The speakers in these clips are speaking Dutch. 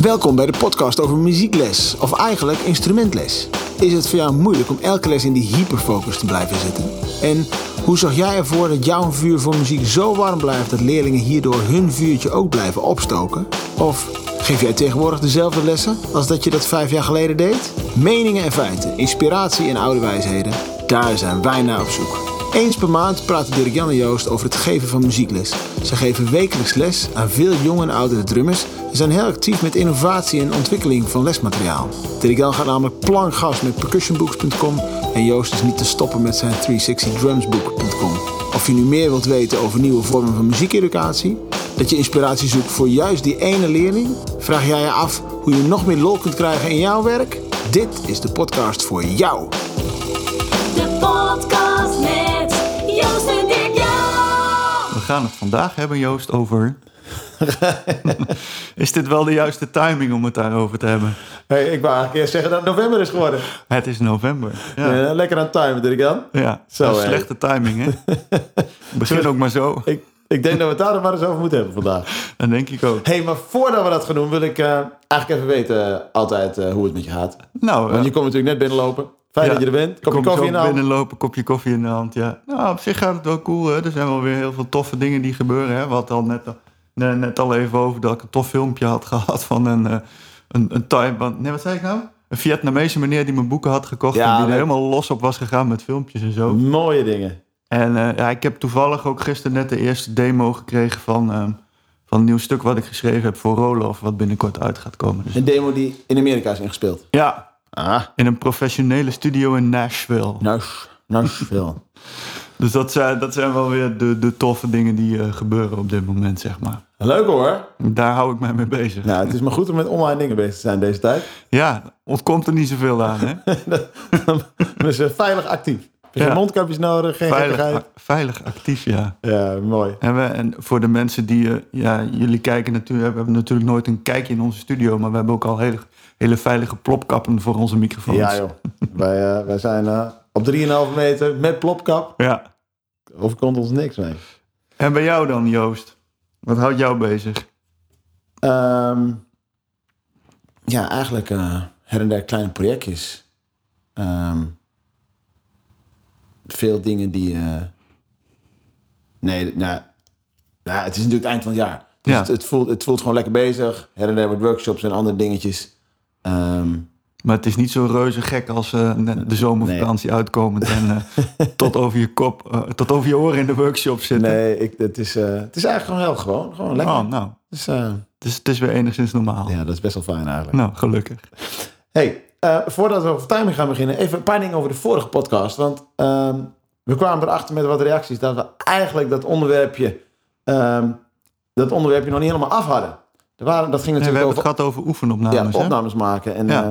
Welkom bij de podcast over muziekles, of eigenlijk instrumentles. Is het voor jou moeilijk om elke les in die hyperfocus te blijven zitten? En hoe zorg jij ervoor dat jouw vuur voor muziek zo warm blijft dat leerlingen hierdoor hun vuurtje ook blijven opstoken? Of geef jij tegenwoordig dezelfde lessen als dat je dat vijf jaar geleden deed? Meningen en feiten, inspiratie en oude wijsheden, daar zijn wij naar op zoek. Eens per maand praten Dirk Jan en Joost over het geven van muziekles. Ze geven wekelijks les aan veel jonge en oudere drummers en zijn heel actief met innovatie en ontwikkeling van lesmateriaal. Dirk Jan gaat namelijk plankgas met percussionbooks.com en Joost is niet te stoppen met zijn 360drumsbook.com. Of je nu meer wilt weten over nieuwe vormen van muziekeducatie, dat je inspiratie zoekt voor juist die ene leerling, vraag jij je af hoe je nog meer lol kunt krijgen in jouw werk? Dit is de podcast voor jou. De podcast met Joost en Dirk Jan. We gaan het vandaag hebben, Joost, over. is dit wel de juiste timing om het daarover te hebben? Hey, ik wou eigenlijk eerst zeggen dat het november is geworden. Het is november. Ja, ja. Eh, lekker aan het timen, Dirk Jan. Zo, Dat is hè. slechte timing, hè? Begin ook maar zo. Ik, ik denk dat we het daar nog maar eens over moeten hebben vandaag. Dat denk ik ook. Hé, hey, maar voordat we dat gaan doen, wil ik eh, eigenlijk even weten eh, altijd eh, hoe het met je gaat. Nou, Want eh, je komt natuurlijk net binnenlopen. Fijn ja, dat je er bent. Kopje kom koffie zo in de hand. binnenlopen, kopje koffie in de hand, ja. Nou, op zich gaat het wel cool, hè? Er zijn wel weer heel veel toffe dingen die gebeuren, hè? Wat al net, ne- net al even over dat ik een tof filmpje had gehad van een, eh, een, een Thai... want- Nee, wat zei ik nou? Een Vietnamese meneer die mijn boeken had gekocht Ja, en die leuk. Mm. er helemaal los op was gegaan met filmpjes en zo. Mooie dingen. En eh, ja, ik heb toevallig ook gisteren net de eerste demo gekregen van, ehm, van een nieuw stuk wat ik geschreven heb voor Roloff, wat binnenkort uit gaat komen. Dus, Een demo die in Amerika is ingespeeld. ja, Ah, in een professionele studio in Nashville. Nash, Nashville. Dus dat zijn, dat zijn wel weer de, de toffe dingen die eh, gebeuren op dit moment, zeg maar. Leuk hoor. Daar hou ik mij mee bezig. Nou, het is maar goed om met online dingen bezig te zijn deze tijd. Ja, ontkomt er niet zoveel aan, hè? Dus eh, veilig actief. Geen Ja. mondkapjes nodig, geen Veilig, gekkigheid. ac- veilig actief, ja. Ja, mooi. En, we, en voor de mensen die, eh, ja, jullie kijken natuurlijk, we hebben natuurlijk nooit een kijkje in onze studio, maar we hebben ook al hele, hele veilige plopkappen voor onze microfoons. Ja joh, wij, eh, wij zijn eh, op 3,5 meter met plopkap. ja. Of komt ons niks mee. En bij jou dan, Joost? Wat houdt jou bezig? Ehm, ja, eigenlijk eh, her en der kleine projectjes. Ehm, veel dingen die... eh, nee, nou, nou, het is natuurlijk het eind van het jaar. Dus Ja. het, het voelt, het voelt gewoon lekker bezig. Her en der wat workshops en andere dingetjes. Ehm, Maar het is niet zo reuze gek als eh, net de zomervakantie uitkomend en eh, tot over je kop, eh, tot over je oren in de workshop zitten. nee, ik, het, is, eh, het is eigenlijk gewoon heel gewoon. Gewoon lekker. Oh, nou, Dus, eh, het is, het is weer enigszins normaal. ja, dat is best wel fijn eigenlijk. Nou, gelukkig. Hey, eh, voordat we over timing gaan beginnen, even een paar dingen over de vorige podcast. Want ehm, we kwamen erachter met wat reacties dat we eigenlijk dat onderwerpje, ehm, dat onderwerpje nog niet helemaal af hadden. Er waren, dat ging Nee, we natuurlijk hebben het over gehad over oefenopnames. ja, hè? opnames maken. En, Ja. eh,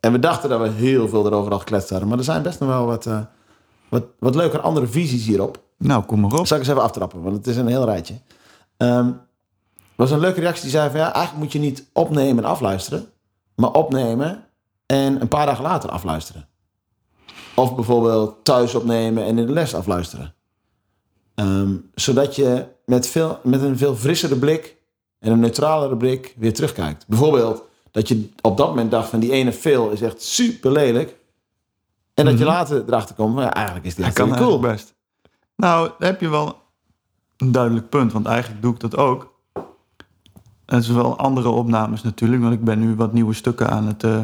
en we dachten dat we heel veel erover al gekletst hadden. Maar er zijn best nog wel wat, eh wat, wat leuke andere visies hierop. Nou, kom maar op. Zal ik eens even aftrappen, want het is een heel rijtje. Ehm, er was een leuke reactie die zei van ja, eigenlijk moet je niet opnemen en afluisteren, maar opnemen en een paar dagen later afluisteren. Of bijvoorbeeld thuis opnemen en in de les afluisteren. Ehm, zodat je met, veel, met een veel frissere blik en een neutralere blik weer terugkijkt. Bijvoorbeeld dat je op dat moment dacht van die ene fail is echt super lelijk. En dat je later erachter komt, van, ja, eigenlijk is die Mhm. Hij kan hartstikke cool. eigenlijk best. Nou, daar heb je wel een duidelijk punt, want eigenlijk doe ik dat ook. En het is wel andere opnames natuurlijk, want ik ben nu wat nieuwe stukken aan het eh,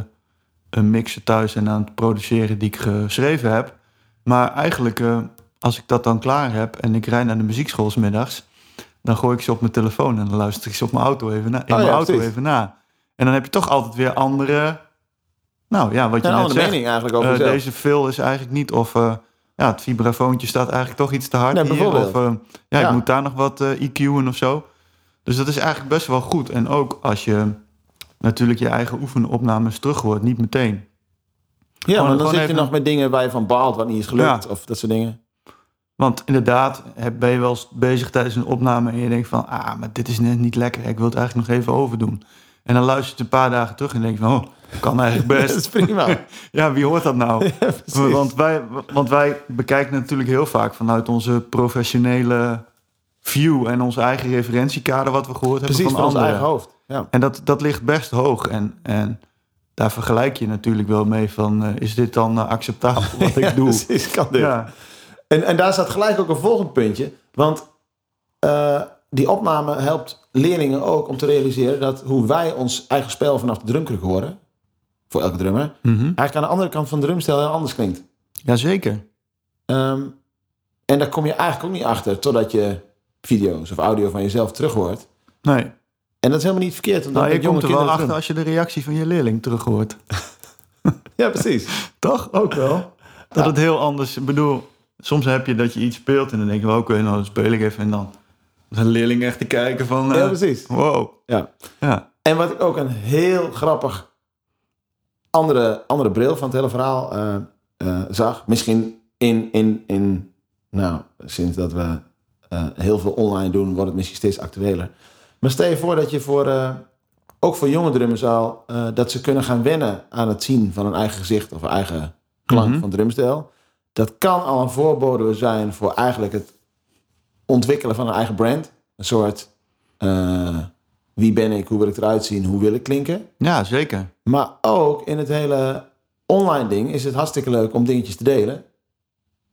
eh, mixen thuis en aan het produceren die ik geschreven heb. Maar eigenlijk, eh, als ik dat dan klaar heb en ik rijd naar de muziekschool 's middags, dan gooi ik ze op mijn telefoon en dan luister ik ze op mijn auto even na. In Oh ja, mijn auto precies. even na. En dan heb je toch altijd weer andere. Nou ja, wat je een net andere zegt. mening eigenlijk over Eh, jezelf. deze veel is eigenlijk niet. Of eh, ja, het vibrafoontje staat eigenlijk toch iets te hard. Nee, hier, bijvoorbeeld. of eh, ja, Ja. ik moet daar nog wat eh IQ'en of zo. Dus dat is eigenlijk best wel goed. En ook als je natuurlijk je eigen oefenopnames terug hoort, niet meteen. Ja, maar Gewoon- dan gewoon zit je even- nog met dingen waar je van baalt, wat niet is gelukt. Ja. Of dat soort dingen. Want inderdaad, heb- ben je wel eens bezig tijdens een opname en je denkt van, ah, maar dit is net niet lekker. Ik wil het eigenlijk nog even overdoen. En dan luister je het een paar dagen terug en denk je van, oh, kan eigenlijk Dat best. is prima. Ja, wie hoort dat nou? precies. want, wij, want wij bekijken natuurlijk heel vaak vanuit onze professionele view en ons eigen referentiekader wat we gehoord hebben Precies van, van ons anderen. eigen hoofd. Ja. En dat, dat ligt best hoog. En, en daar vergelijk je natuurlijk wel mee van... eh, is dit dan eh, acceptabel wat Ja, ik doe? precies, kan dit. Ja, En, en daar staat gelijk ook een volgend puntje. Want eh, die opname helpt leerlingen ook om te realiseren dat hoe wij ons eigen spel vanaf de drumkruk horen, voor elke drummer, Mhm. eigenlijk aan de andere kant van de drumstijl heel anders klinkt. Jazeker. Ehm, en daar kom je eigenlijk ook niet achter totdat je video's of audio van jezelf terug hoort. Nee. En dat is helemaal niet verkeerd. Omdat Nou, je Nou, met jonge komt er wel kinderen achter als je de reactie van je leerling terug hoort. doen. Ja, precies. Toch? Ook wel. Dat het heel anders... Ik bedoel, soms heb je dat je iets speelt... en dan denk je, oké, nou, dat speel ik even. En dan is een leerling echt te kijken van... eh, Ja, precies. Wow. Ja. Ja. En wat ik ook een heel grappig andere, andere bril van het hele verhaal eh, eh, zag. Misschien in, in, in, nou, sinds dat we eh, heel veel online doen, wordt het misschien steeds actueler. Maar stel je voor dat je voor, eh, ook voor jonge drummers al, eh, dat ze kunnen gaan wennen aan het zien van hun eigen gezicht of eigen klank Mhm. van drumstijl. Dat kan al een voorbode zijn voor eigenlijk het ontwikkelen van een eigen brand. Een soort eh, wie ben ik, hoe wil ik eruit zien, hoe wil ik klinken. ja, zeker. Maar ook in het hele online ding is het hartstikke leuk om dingetjes te delen.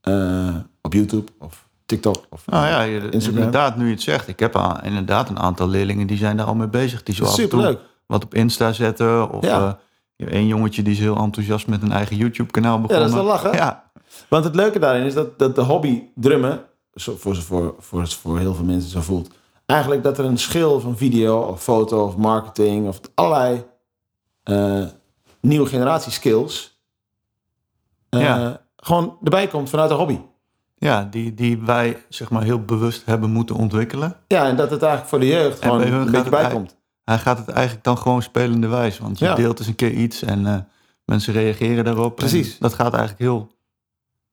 Eh, op YouTube of TikTok. Of, Nou ja, je- Instagram. inderdaad, nu je het zegt. Ik heb a- inderdaad een aantal leerlingen die zijn daar al mee bezig. Die zo af en toe Superleuk. wat op Insta zetten. Of Ja. eh, je hebt één jongetje die is heel enthousiast met een eigen YouTube kanaal dat is begonnen. wel lachen. Ja, Want het leuke daarin is dat, dat de hobby drummen, zo- voor, voor, voor, voor heel veel mensen zo voelt, eigenlijk dat er een schil van video of foto of marketing of allerlei eh, nieuwe generatie skills eh, Ja. gewoon erbij komt vanuit de hobby. ja die, die wij zeg maar heel bewust hebben moeten ontwikkelen. Ja, en dat het eigenlijk voor de jeugd gewoon bij hun een gaat beetje het bij uit- komt. Hij gaat het eigenlijk dan gewoon spelende wijs. Want je Ja. deelt eens een keer iets en eh, mensen reageren daarop. En Precies. dat gaat eigenlijk heel...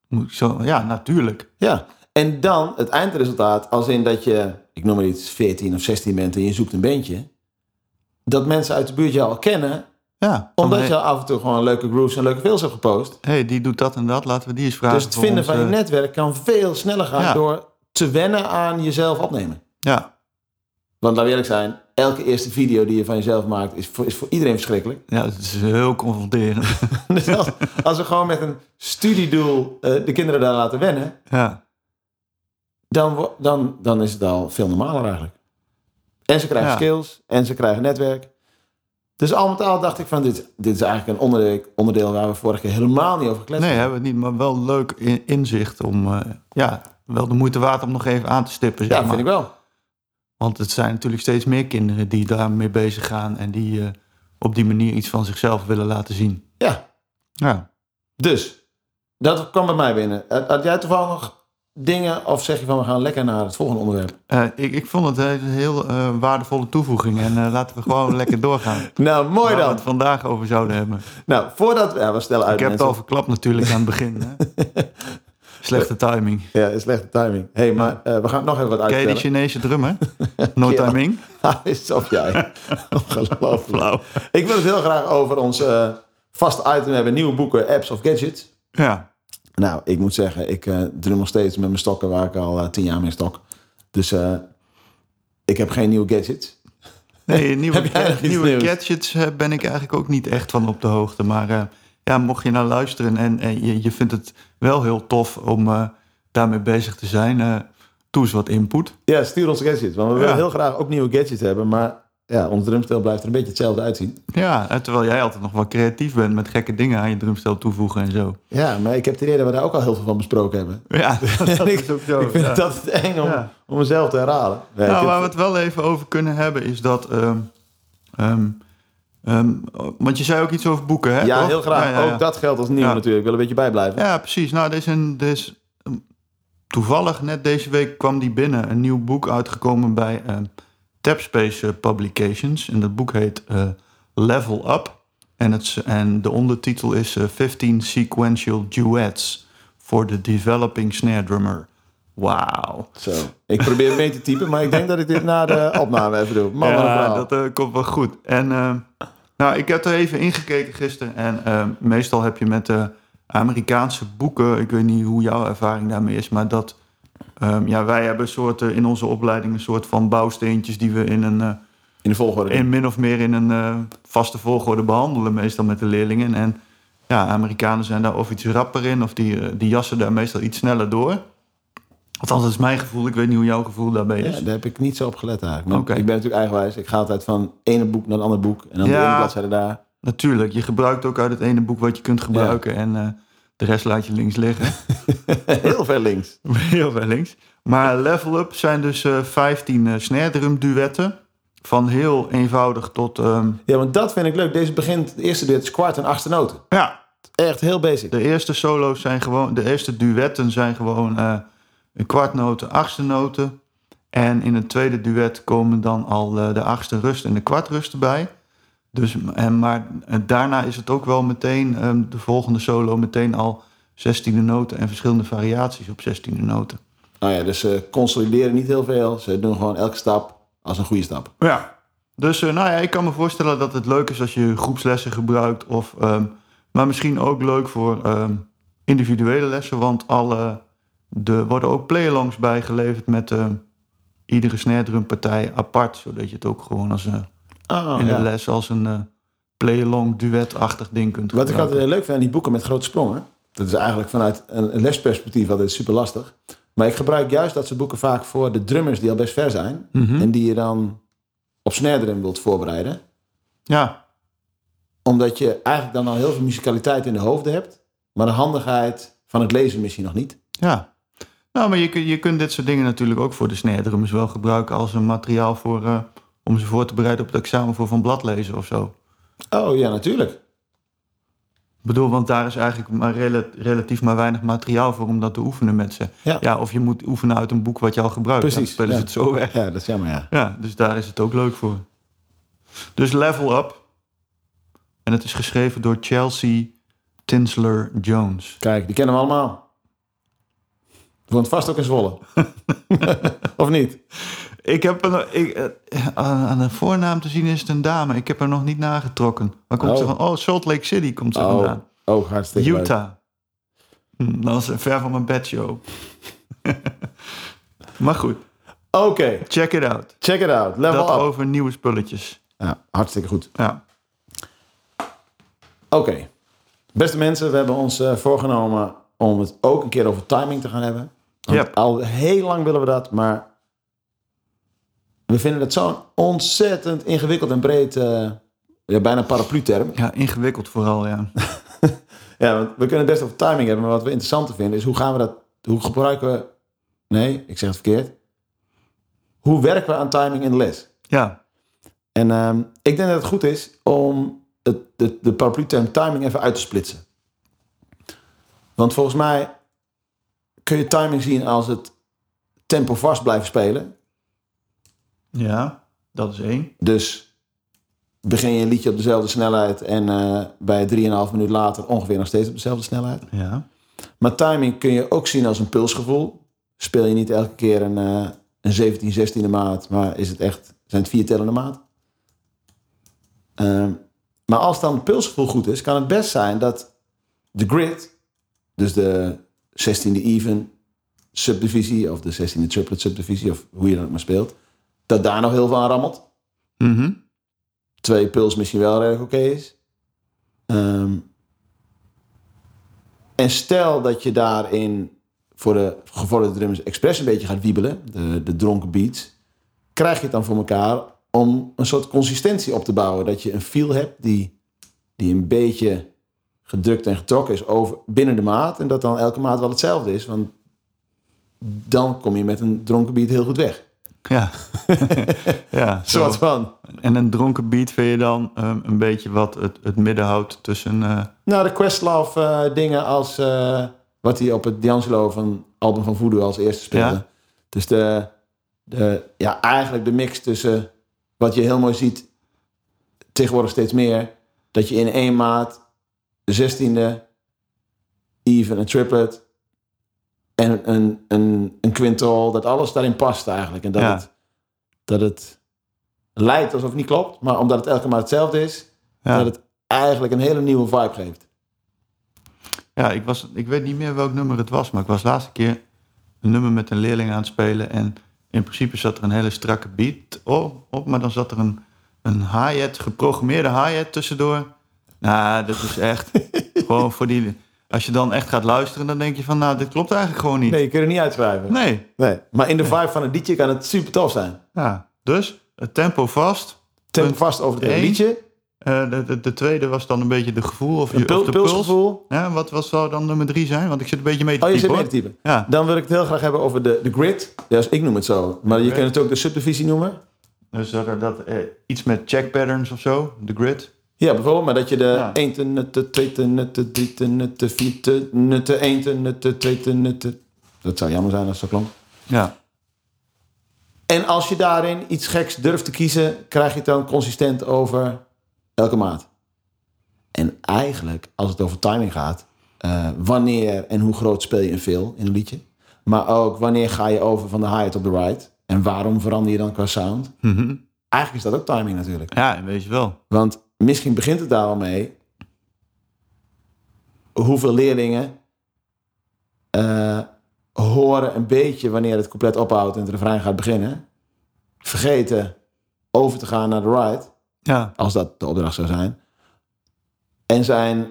moet ik Zo, ja, natuurlijk. Ja, en dan het eindresultaat, als in dat je, ik noem maar iets, 14 of 16 bent en je zoekt een bandje. Dat mensen uit de buurt jou al kennen, Ja, van, omdat hey, je af en toe gewoon leuke grooves en leuke films hebt gepost. hey, die doet dat en dat. Laten we die eens vragen. dus het voor vinden ons, van je eh, netwerk kan veel sneller gaan Ja. door te wennen aan jezelf opnemen. Ja, Want laat we eerlijk zijn, elke eerste video die je van jezelf maakt is voor, is voor iedereen verschrikkelijk. ja, het is heel confronterend. Dus als, als we gewoon met een studiedoel eh, de kinderen daar laten wennen, ja. dan, wo- dan, dan is het al veel normaler eigenlijk. En ze krijgen Ja. skills en ze krijgen netwerk. Dus al met al dacht ik van, dit, dit is eigenlijk een onderdeel, onderdeel waar we vorige keer helemaal niet over kletsen. Nee, hebben we het niet, maar wel leuk in- inzicht om, eh, ja, wel de moeite waard om nog even aan te stippen. Zeg ja, maar. vind ik wel. Want het zijn natuurlijk steeds meer kinderen die daarmee bezig gaan en die eh, op die manier iets van zichzelf willen laten zien. Ja, Ja. dus dat kwam bij mij binnen. Had had jij toevallig nog dingen of zeg je van, we gaan lekker naar het volgende onderwerp? Eh, ik, ik vond het een heel eh, waardevolle toevoeging en eh, laten we gewoon lekker doorgaan. Nou, mooi Waar we dan. het vandaag over zouden hebben. Nou, voordat... Ja, we stellen uit ik heb het mensen. al verklapt natuurlijk aan het begin. Hè? Slechte timing. Ja, is slechte timing. Hé, hey, maar eh, we gaan nog even wat Ken je die uitstellen. Chinese drummer? No Ja. timing? Hij is op jij. Ongelooflijk. Flauw. Ik wil het heel graag over ons eh vast item hebben. Nieuwe boeken, apps of gadgets. Ja. Nou, ik moet zeggen, ik eh, drum nog steeds met mijn stokken waar ik al eh, tien jaar mee stok. Dus eh, ik heb geen nieuwe gadgets. Nee, nieuwe, jij nog iets nieuwe nieuws? gadgets eh, ben ik eigenlijk ook niet echt van op de hoogte. Maar eh, ja, mocht je nou luisteren en, en je, je vindt het wel heel tof om eh, daarmee bezig te zijn, eh doe eens wat input. Ja, stuur ons gadgets. Want we willen Ja. heel graag ook nieuwe gadgets hebben. Maar ja, ons drumstel blijft er een beetje hetzelfde uitzien. Ja, en terwijl jij altijd nog wel creatief bent met gekke dingen aan je drumstel toevoegen en zo. Ja, maar ik heb het idee dat we daar ook al heel veel van besproken hebben. Ja, dat ik- is ook zo. ik vind ja. het altijd eng om, Ja. om mezelf te herhalen. Nee, ik Nou, heb- waar we het wel even over kunnen hebben is dat. ehm, ehm, ehm, want je zei ook iets over boeken, hè? ja, toch? heel graag. Ja, ja, ja. Ook dat geldt als nieuw Ja. natuurlijk. Ik wil een beetje bijblijven. Ja, precies. Nou, er is een, er is, ehm, toevallig net deze week kwam die binnen. Een nieuw boek uitgekomen bij ehm, Tapspace eh, Publications. En dat boek heet eh, Level Up. En, het, is- en de ondertitel is eh, 15 Sequential Duets for the Developing Snare Drummer. Wauw. Zo. Ik probeer mee te typen, maar ik denk dat ik dit na de opname even doe. Man, wat een Ja, verhaal. dat eh, komt wel goed. En ehm, nou, ik heb er even ingekeken gisteren. En ehm, meestal heb je met de Amerikaanse boeken, ik weet niet hoe jouw ervaring daarmee is, maar dat ehm, ja, wij hebben soorten in onze opleiding een soort van bouwsteentjes die we in een eh, In de volgorde. in min of meer in een eh, vaste volgorde behandelen, meestal met de leerlingen. En ja, Amerikanen zijn daar of iets rapper in, of die, eh, die jassen daar meestal iets sneller door. Althans, dat is mijn gevoel. Ik weet niet hoe jouw gevoel daarbij Ja, is. daar heb ik niet zo op gelet eigenlijk. Maar Oké. Ik ben natuurlijk eigenwijs. Ik ga altijd van het ene boek naar het andere boek. En dan de Ja. ene bladzijde daar. Natuurlijk, je gebruikt ook uit het ene boek wat je kunt gebruiken en eh, de rest laat je links liggen. Heel ver links. Heel veel links. Maar Level Up zijn dus eh 15 eh snare drum duetten. Van heel eenvoudig tot... ehm, Ja, want dat vind ik leuk. Deze begint, de eerste dit is kwart en achtste noten. ja, Echt heel basic. De eerste solo's zijn gewoon, de eerste duetten zijn gewoon eh, een kwartnoten, achtste noten. En in het tweede duet komen dan al eh, de achtste rust en de kwartrust erbij. Dus, en, maar en daarna is het ook wel meteen, eh, de volgende solo meteen al zestiende noten en verschillende variaties op zestiende noten. Nou ja, dus ze consolideren niet heel veel. Ze doen gewoon elke stap als een goede stap. Ja. Dus eh, nou ja, ik kan me voorstellen dat het leuk is als je groepslessen gebruikt. Of, ehm, maar misschien ook leuk voor ehm, individuele lessen. Want alle, er worden ook playalongs bijgeleverd met ehm, iedere snare drumpartij apart. Zodat je het ook gewoon als, eh, Oh, in ja. de les als een eh playalong duetachtig ding kunt Wat ik eh, altijd gebruiken. heel leuk vind aan die boeken met grote sprongen. Dat is eigenlijk vanuit een lesperspectief altijd super lastig. Maar ik gebruik juist dat soort boeken vaak voor de drummers die al best ver zijn. En die je dan op snare drum wilt voorbereiden. Ja, Omdat je eigenlijk dan al heel veel musicaliteit in de hoofden hebt. Maar de handigheid van het lezen misschien nog niet. ja. Nou, maar je, kun- je kunt dit soort dingen natuurlijk ook voor de snare drums wel gebruiken als een materiaal voor, eh, om ze voor te bereiden op het examen voor van bladlezen of zo. Oh ja, natuurlijk. Ik bedoel, want daar is eigenlijk maar rela- relatief maar weinig materiaal voor om dat te oefenen met ze. Ja. of je moet oefenen uit een boek wat je al gebruikt. Dan Precies, spelen ze ja. het zo weg. Ja, dat is jammer, ja. Ja, dus daar is het ook leuk voor. Dus Level Up. En het is geschreven door Chelsea Tinsler Jones. Kijk, die kennen we allemaal. Woont vast ook in Zwolle. of niet? Ik heb een, ik, eh, aan, aan de voornaam te zien is het een dame. Ik heb er nog niet nagetrokken. Waar komt Oh. ze van? Oh, Salt Lake City komt ze Oh, vandaan. oh hartstikke leuk. Utah. Hm, Dat is ver van mijn bedshow. maar goed. Oké, Check it out. check it out. Level Dat up. over nieuwe spulletjes. Ja, hartstikke goed. Ja. Oké. Beste mensen, we hebben ons eh, voorgenomen om het ook een keer over timing te gaan hebben. Want Yep. Al heel lang willen we dat, maar we vinden het zo'n ontzettend ingewikkeld en breed, eh, ja, bijna paraplu-term. ja, ingewikkeld vooral, ja. Ja, want we kunnen het best over timing hebben, maar wat we interessanter vinden is hoe gaan we dat, hoe gebruiken we, nee, ik zeg het verkeerd. Hoe werken we aan timing in de les? Ja, En ehm, ik denk dat het goed is om het, de, de paraplu-term timing even uit te splitsen. Want volgens mij kun je timing zien als het tempo vast blijven spelen. ja dat is één. Dus begin je een liedje op dezelfde snelheid en eh, bij 3,5 minuut later ongeveer nog steeds op dezelfde snelheid. Ja. Maar timing kun je ook zien als een pulsgevoel. Speel je niet elke keer een, eh, een 17, 16e maat, maar is het echt, zijn het vier tellende maat. Ehm, maar als dan het pulsgevoel goed is, kan het best zijn dat de grid, dus de 16e even subdivisie of de 16e triplet subdivisie of hoe je dat ook maar speelt, dat daar nog heel veel aan rammelt Mhm. twee puls misschien wel erg oké is. Ehm, en stel dat je daarin voor de gevorderde drummers expres een beetje gaat wiebelen, de, de dronken beats, krijg je het dan voor elkaar om een soort consistentie op te bouwen. Dat je een feel hebt die, die een beetje gedrukt en getrokken is over, binnen de maat. En dat dan elke maat wel hetzelfde is. Want dan kom je met een dronken beat heel goed weg. Ja. ja Zo wat van. En een dronken beat vind je dan ehm, een beetje wat het, het midden houdt tussen... eh, Nou, de Questlove eh, dingen als... eh, wat hij op het D'Angelo van album van Voodoo als eerste speelde. Ja. Dus de, de, ja, eigenlijk de mix tussen... Wat je heel mooi ziet tegenwoordig steeds meer... dat je in één maat de 16e, even een triplet... en een, een, een quintal, dat alles daarin past eigenlijk. En dat, Ja. het, dat het lijkt alsof het niet klopt... maar omdat het elke maat hetzelfde is... ja. dat het eigenlijk een hele nieuwe vibe geeft. Ja, ik, was, ik weet niet meer welk nummer het was, maar ik was de laatste keer een nummer met een leerling aan het spelen. En in principe zat er een hele strakke beat op, op maar dan zat er een een hi-hat, geprogrammeerde hi-hat tussendoor. Nou, dat is echt gewoon voor die... Als je dan echt gaat luisteren, dan denk je van... Nou, dit klopt eigenlijk gewoon niet. Nee, je kunt het niet uitschrijven. Nee. nee. Maar in de vibe van het liedje kan het super tof zijn. Ja, dus het tempo vast. Ten vast over het Eén. liedje. Oh, Eh, de, de, de tweede was dan een beetje de gevoel of, je, Een pul- of de puls. pulsgevoel. Ja, wat, wat zou dan nummer drie zijn? Want ik zit een beetje mee te Oh, je zit typen, mee te hoor. typen. Ja, Dan wil ik het heel graag hebben over de, de grid. Ja, dus ik noem het zo. Maar je Oké. kunt het ook de subdivisie noemen. dus dat, er- dat, eh, iets met check patterns of zo, de grid. Ja, bijvoorbeeld, maar dat je de Ja. 1 te nutten, 2 te nutten, 3 te nutten, 4 te nutten, 1 te nutten, 2 te nutten. Dat zou jammer zijn als dat klonk. Ja, En als je daarin iets geks durft te kiezen, krijg je het dan consistent over elke maat. En eigenlijk, als het over timing gaat, eh, wanneer en hoe groot speel je een veel in een liedje. Maar ook wanneer ga je over van de hi-hat op de right. En waarom verander je dan qua sound? Eigenlijk is dat ook timing natuurlijk. ja weet je wel. Want misschien begint het daar al mee. Hoeveel leerlingen eh, horen een beetje wanneer het compleet ophoudt en het refrein gaat beginnen. Vergeten over te gaan naar de ride, Ja, als dat de opdracht zou zijn. En zijn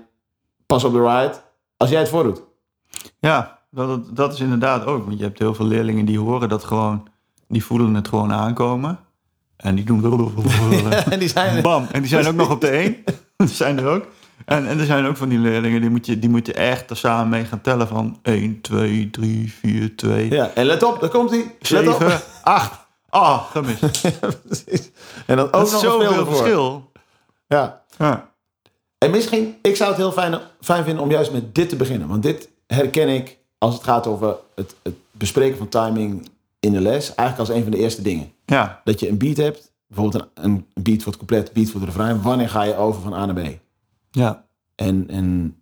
pas op de ride als jij het voordoet. ja dat, dat, dat is inderdaad ook. Want je hebt heel veel leerlingen die horen dat gewoon, die voelen het gewoon aankomen. En die doen... En die zijn Bam, en die zijn ook nog op de één. Die zijn er ook. En, en er zijn ook van die leerlingen, die moet je, die moet je echt er samen mee gaan tellen van 1, 2, 3, 4, 2, Ja, en let op, daar komt hij. Let op. 7, 8. Ah, gemist. Dat Precies. en dan ook nog is een speel zoveel ervoor. verschil. Ja. Ja. En misschien, ik zou het heel fijn, fijn vinden om juist met dit te beginnen. Want dit herken ik als het gaat over het, het bespreken van timing in de les. Eigenlijk als een van de eerste dingen. ja, Dat je een beat hebt. Bijvoorbeeld een, een beat voor het compleet, beat voor de refrein. Wanneer ga je over van A naar B? ja, En, en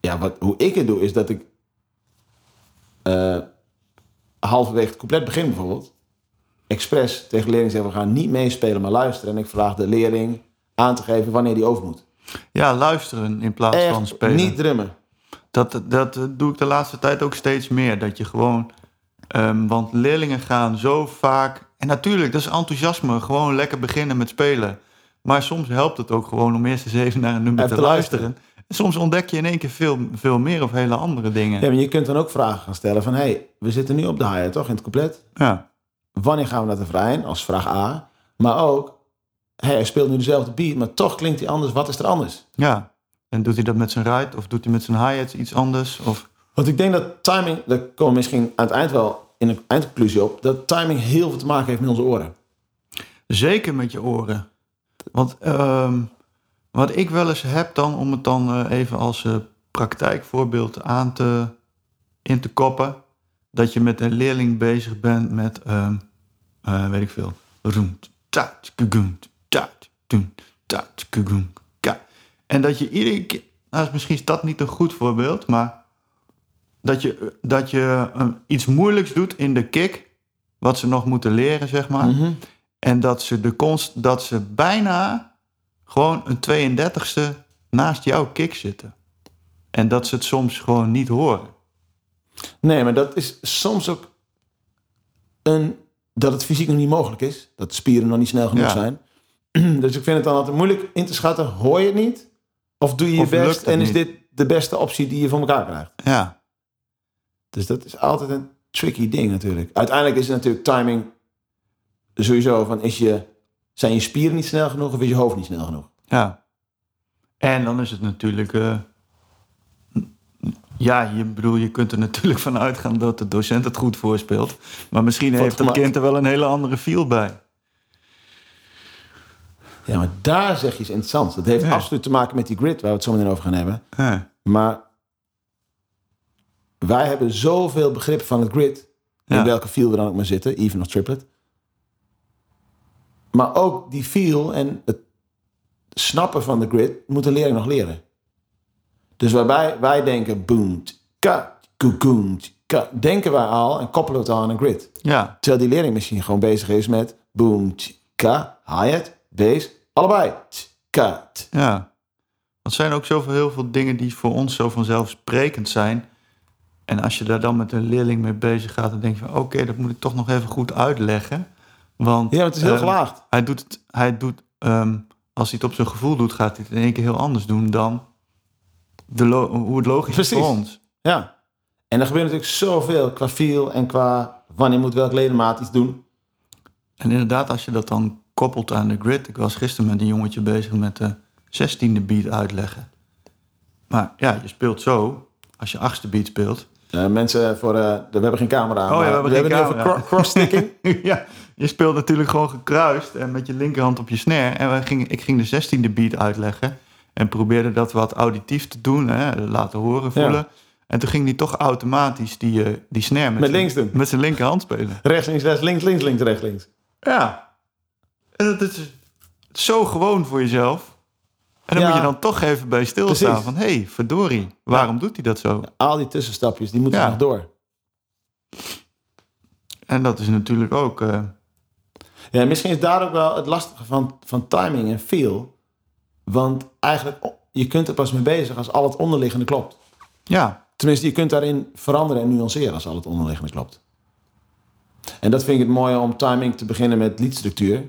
ja, wat, hoe ik het doe is dat ik eh, halverwege het compleet begin bijvoorbeeld... expres tegen de leerling zeg, we gaan niet meespelen, maar luisteren. En ik vraag de leerling aan te geven wanneer die over moet. ja, luisteren in plaats van Echt spelen. niet drummen. Dat, dat eh, doe ik de laatste tijd ook steeds meer. Dat je gewoon. ehm, want leerlingen gaan zo vaak. En natuurlijk, dat is enthousiasme. Gewoon lekker beginnen met spelen. Maar soms helpt het ook gewoon om eerst eens even naar een nummer Even te te luisteren. luisteren. En soms ontdek je in één keer veel, veel meer of hele andere dingen. Ja, Ja. maar je kunt dan ook vragen gaan stellen van... hé, hey, we zitten nu op de haaien, toch, in het compleet? Ja. Wanneer gaan we naar de refrein, als vraag A? Maar ook, hé, hey, hij speelt nu dezelfde beat... maar toch klinkt hij anders, wat is er anders? En doet hij dat met zijn ride? Of doet hij met zijn hi-hats iets anders? Of, Want ik denk dat timing... daar komen we misschien aan het eind wel in de eindconclusie op... dat timing heel veel te maken heeft met onze oren. zeker met je oren. Want ehm, wat ik wel eens heb dan, om het dan eh, even als eh, praktijkvoorbeeld aan te, in te koppen. Dat je met een leerling bezig bent met, ehm, eh, weet ik veel. roem, taat, kugoem, taat, doen, taat, kugoem, ka. En dat je iedere keer, nou is misschien is dat niet een goed voorbeeld, maar dat je, dat je eh, iets moeilijks doet in de kick, wat ze nog moeten leren, zeg maar. En dat ze, de konst, dat ze bijna gewoon een 32e naast jouw kick zitten. En dat ze het soms gewoon niet horen. Nee, maar dat is soms ook een... dat het fysiek nog niet mogelijk is. Dat de spieren nog niet snel genoeg Ja. zijn. Dus ik vind het dan altijd moeilijk in te schatten... hoor je het niet? Of doe je je Of lukt best het en is niet? dit de beste optie die je voor elkaar krijgt? Ja, Dus dat is altijd een tricky ding natuurlijk. Uiteindelijk is het natuurlijk timing sowieso van is je, zijn je spieren niet snel genoeg of is je hoofd niet snel genoeg? ja. En dan is het natuurlijk... eh, ja, je, bedoel, je kunt er natuurlijk van uitgaan dat de docent het goed voorspeelt. Maar misschien heeft dat gemaakt. kind er wel een hele andere feel bij. Ja, maar daar zeg je iets interessants. Dat heeft Ja. absoluut te maken met die grid waar we het zo meteen over gaan hebben. Ja, Maar wij hebben zoveel begrip van het grid. Ja. In welke feel we dan ook maar zitten, even of triplet. Maar ook die feel en het snappen van de grid moet een leerling nog leren. Dus waarbij wij denken boom, ka, koekoem, ka, denken wij al en koppelen het al aan een grid. ja, Terwijl die leerling misschien gewoon bezig is met boom, ka, hi-hat, bass, allebei. Ka, ja. Want er zijn ook zoveel heel veel dingen die voor ons zo vanzelfsprekend zijn. En als je daar dan met een leerling mee bezig gaat, dan denk je van oké, dat moet ik toch nog even goed uitleggen. Want, Ja, het is heel ehm, gelaagd. Hij doet het, hij doet, ehm, als hij het op zijn gevoel doet, gaat hij het in één keer heel anders doen dan de lo- hoe het logisch is voor Precies. ons. Ja. En er gebeurt natuurlijk zoveel qua feel en qua wanneer moet welk ledemaat iets doen. En inderdaad, als je dat dan koppelt aan de grid. Ik was gisteren met een jongetje bezig met de 16e beat uitleggen. Maar ja, je speelt zo, als je achtste beat speelt. Eh, mensen, voor, eh, de- we hebben geen camera. maar Oh we hebben we geen hebben het nu camera. over cro- cross-sticking. ja, je speelt natuurlijk gewoon gekruist en met je linkerhand op je snare. En wij gingen, ik ging de 16e beat uitleggen en probeerde dat wat auditief te doen, hè, laten horen, voelen. Ja. En toen ging hij toch automatisch die, eh, die snare met, Met zijn- links doen. met zijn linkerhand spelen. rechts, links, rechts, links, links, links, rechts, links. Ja. En dat is zo gewoon voor jezelf. En dan Ja. moet je dan toch even bij stilstaan Precies. van... hé, hey, verdorie, waarom doet hij dat zo? Al die tussenstapjes, die moeten Ja. nog door. En dat is natuurlijk ook... eh, Ja, misschien is daar ook wel het lastige van, van timing en feel. Want eigenlijk, oh, je kunt er pas mee bezig als al het onderliggende klopt. ja, Tenminste, je kunt daarin veranderen en nuanceren als al het onderliggende klopt. En dat vind ik het mooie om timing te beginnen met liedstructuur.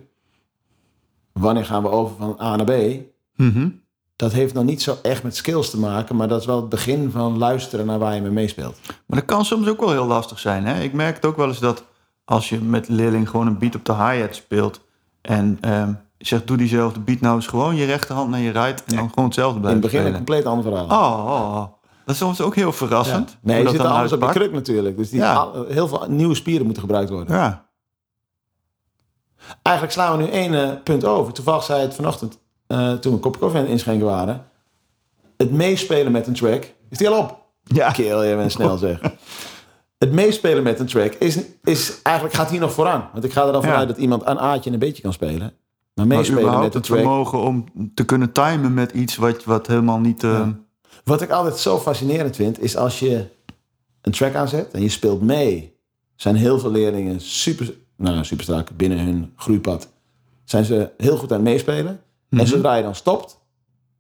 Wanneer gaan we over van A naar B? mhm. Dat heeft nog niet zo echt met skills te maken, maar dat is wel het begin van luisteren naar waar je mee meespeelt. Maar dat kan soms ook wel heel lastig zijn. Hè? Ik merk het ook wel eens dat als je met leerling gewoon een beat op de hi-hat speelt... en ehm, je zegt, doe diezelfde beat nou eens gewoon je rechterhand naar je right... en dan gewoon hetzelfde In het blijven begin een spelen. compleet ander verhaal. Oh, oh, oh. dat is soms ook heel verrassend. Ja. Nee, hoe je dat zit er dan anders op je uitpakt. kruk natuurlijk. Dus die Ja. al- heel veel nieuwe spieren moeten gebruikt worden. Ja, Eigenlijk slaan we nu één eh, punt over. Toevallig zei het vanochtend, eh, toen we een kopje koffie aan het inschenken waren. Het meespelen met een track, is die al op? Ja. Kerel, je bent snel zeg. Het meespelen met een track is, is eigenlijk gaat hier nog vooraan. Want ik ga er al vanuit Ja. dat iemand een aatje en een beetje kan spelen. Maar Maar meespelen überhaupt met een het track. vermogen om te kunnen timen met iets wat, wat helemaal niet... eh, Wat ik altijd zo fascinerend vind, is als je een track aanzet en je speelt mee. Zijn heel veel leerlingen super, nou, super strak binnen hun groeipad. Zijn ze heel goed aan het meespelen. Mhm. En zodra je dan stopt,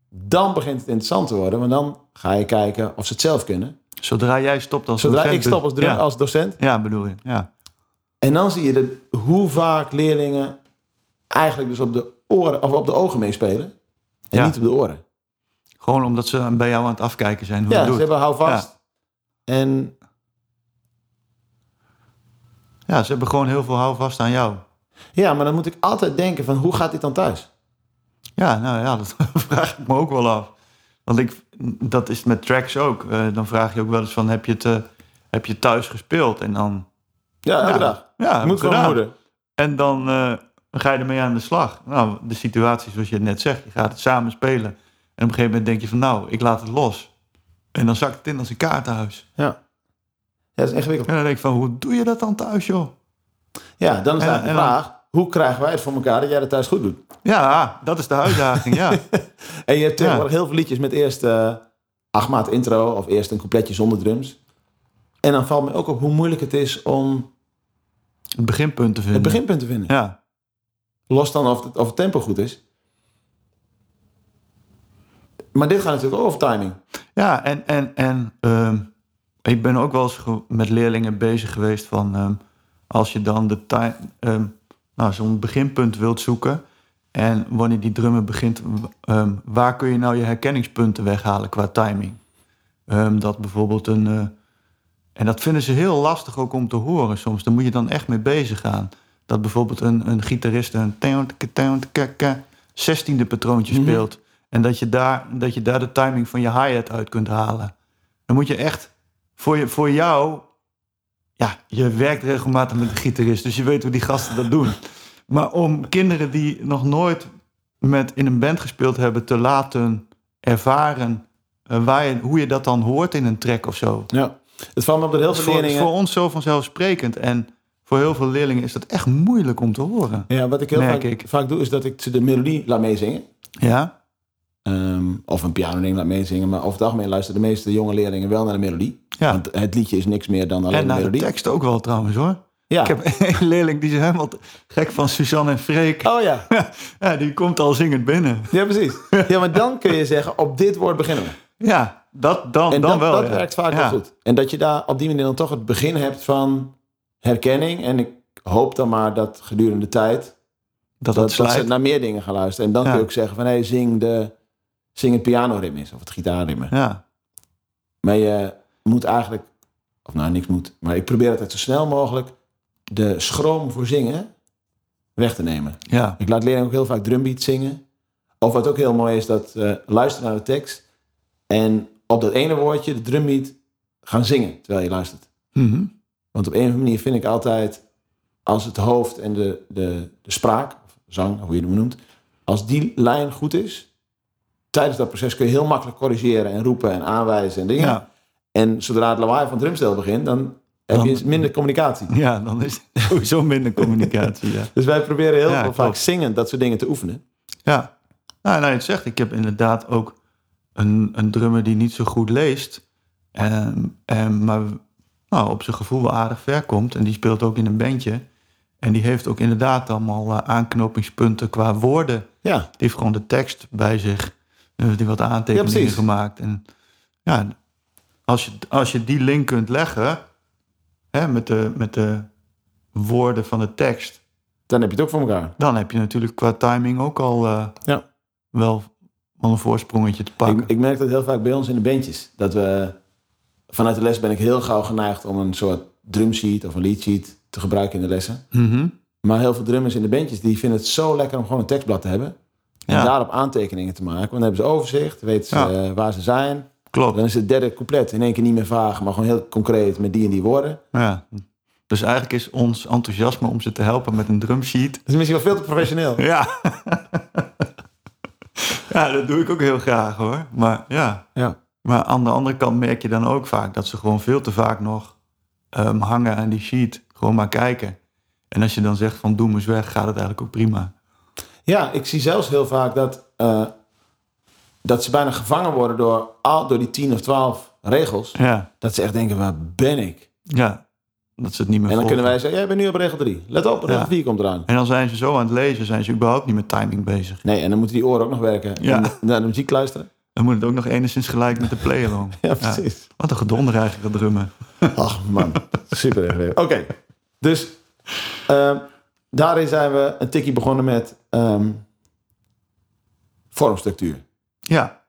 dan begint het interessant te worden. Want dan ga je kijken of ze het zelf kunnen. Zodra jij stopt als Zodra docent, dus- ik stop als, drum- ja. als docent, ja, bedoel je. Ja. En dan zie je de, hoe vaak leerlingen eigenlijk dus op de, oren, of op de ogen meespelen. En Ja. niet op de oren. Gewoon omdat ze bij jou aan het afkijken zijn hoe ja, je ze doet. hebben hou vast. En Ja, ze hebben gewoon heel veel houvast aan jou. ja, maar dan moet ik altijd denken van hoe gaat dit dan thuis? Ja, nou ja, dat vraag ik me ook wel af. Want ik, dat is met tracks ook. Eh, dan vraag je ook wel eens van, heb je het, eh, heb je thuis gespeeld? En dan... Ja, elke Ja. dag. Ja, heb ik moet gewoon gedaan. moeder. En dan eh, ga je ermee aan de slag. Nou, de situatie zoals je het net zegt. Je gaat het samen spelen. En op een gegeven moment denk je van, nou, ik laat het los. En dan zakt het in als een kaartenhuis. Ja. ja, dat is ingewikkeld. En dan denk ik van, hoe doe je dat dan thuis, joh? Ja, dan is En- eigenlijk de en dan- vraag, hoe krijgen wij het voor elkaar dat jij dat thuis goed doet? Ja, dat is de uitdaging, ja. En je hebt tegenwoordig heel veel liedjes met eerst eh acht maat intro of eerst een coupletje zonder drums. En dan valt me ook op hoe moeilijk het is om Het beginpunt te vinden. het beginpunt te vinden. Ja. Los dan of het, of het tempo goed is. Maar dit gaat natuurlijk ook over timing. Ja, en, en, en ehm, ik ben ook wel eens ge- met leerlingen bezig geweest van ehm, als je dan de time, ehm, nou, zo'n beginpunt wilt zoeken en wanneer die drummer begint, w- ehm, waar kun je nou je herkenningspunten weghalen qua timing? Ehm, dat bijvoorbeeld een. eh, en dat vinden ze heel lastig ook om te horen soms. Daar moet je dan echt mee bezig gaan. Dat bijvoorbeeld een, een gitarist een teon, teke, teon, teke, ke, 16e patroontje speelt. En dat je, daar, dat je daar de timing van je hi-hat uit kunt halen. Dan moet je echt voor, je, voor jou. Ja, je werkt regelmatig met een gitarist, dus je weet hoe die gasten dat doen. Maar om kinderen die nog nooit met in een band gespeeld hebben te laten ervaren eh, waar je, hoe je dat dan hoort in een track of zo. Ja. Het valt me op dat heel Dat is veel voor, is leerlingen... voor ons zo vanzelfsprekend. En voor heel veel leerlingen is dat echt moeilijk om te horen. Ja, wat ik heel merk vaak, ik. vaak doe, is dat ik ze de melodie laat meezingen. Ja? Ehm, of een pianoding laat meezingen. Maar over het algemeen luisteren de meeste jonge leerlingen wel naar de melodie. Ja. Want het liedje is niks meer dan alleen en de naar de melodie. tekst ook wel trouwens hoor. Ik Ja. heb een leerling die is helemaal te- gek van Suzanne en Freek. Oh ja. Ja, die komt al zingend binnen. ja, precies. Ja, maar dan kun je zeggen, op dit woord beginnen we. Ja, dat dan, En Oh, dan dat, wel. dat ja. werkt vaak Ja. wel goed. En dat je daar op die manier dan toch het begin hebt van herkenning. En ik hoop dan maar dat gedurende de tijd Dat dat dat, dat ze slijt. naar meer dingen gaan luisteren. En dan Ja. kun je ook zeggen van hé, hey, zing, de, zing het pianorim eens of het gitaarrim. Ja, Maar je moet eigenlijk, of nou niks moet, maar ik probeer altijd zo snel mogelijk de schroom voor zingen weg te nemen. ja, Ik laat leerlingen ook heel vaak drumbeat zingen. Of wat ook heel mooi is, dat eh luisteren naar de tekst en op dat ene woordje, de drumbeat, gaan zingen terwijl je luistert. Mhm. Want op een of andere manier vind ik altijd, als het hoofd en de, de, de spraak, of zang, hoe je het maar noemt, als die lijn goed is, tijdens dat proces kun je heel makkelijk corrigeren en roepen en aanwijzen en dingen. ja, En zodra het lawaai van het drumstel begint, dan heb Dan- je minder communicatie. ja, dan is het sowieso minder communicatie. Ja. Dus wij proberen heel Ja, veel vaak klopt. zingend dat soort dingen te oefenen. Ja, nou, nou je het zegt, ik heb inderdaad ook een, een drummer die niet zo goed leest, en, en, maar nou, op zijn gevoel wel aardig ver komt. En die speelt ook in een bandje. En die heeft ook inderdaad allemaal eh, aanknopingspunten qua woorden. Ja, Die heeft gewoon de tekst bij zich. Dan heeft hij wat aantekeningen Ja, precies. gemaakt. En ja, als je, als je die link kunt leggen hè, met, de, met de woorden van de tekst, dan heb je het ook voor elkaar. dan heb je natuurlijk qua timing ook al eh, Ja. wel, wel een voorsprongetje te pakken. Ik, ik merk dat heel vaak bij ons in de bandjes. Dat we, vanuit de les ben ik heel gauw geneigd om een soort drumsheet of een leadsheet te gebruiken in de lessen. Mhm. Maar heel veel drummers in de bandjes, die vinden het zo lekker om gewoon een tekstblad te hebben. En Ja. daarop aantekeningen te maken. Want dan hebben ze overzicht, weten ze Ja. eh, waar ze zijn. Klopt. Dan is het derde couplet in één keer niet meer vaag, maar gewoon heel concreet met die en die woorden. Ja. Dus eigenlijk is ons enthousiasme om ze te helpen met een drumsheet. Dat is misschien wel veel te professioneel. Ja. ja, dat doe ik ook heel graag hoor. Maar ja. Ja. Maar aan de andere kant merk je dan ook vaak dat ze gewoon veel te vaak nog ehm, hangen aan die sheet. Gewoon maar kijken. En als je dan zegt van doem eens weg, gaat het eigenlijk ook prima. Ja, ik zie zelfs heel vaak dat, eh, dat ze bijna gevangen worden door, al, door die 10 of 12 regels. Ja, Dat ze echt denken, waar ben ik? ja. Dat ze het niet meer En dan volgen. kunnen wij zeggen, jij bent nu op regel 3. Let op, regel Ja. 4 komt eraan. En dan zijn ze zo aan het lezen, zijn ze überhaupt niet met timing bezig. Nee, en dan moeten die oren ook nog werken. Ja. En naar de muziek luisteren. Dan moet het ook nog enigszins gelijk met de play-along. Ja, precies. Wat een gedonder eigenlijk, dat drummen. Ach man, super ingewikkeld. Oké, dus ehm, daarin zijn we een tikkie begonnen met ehm, vormstructuur. Ja,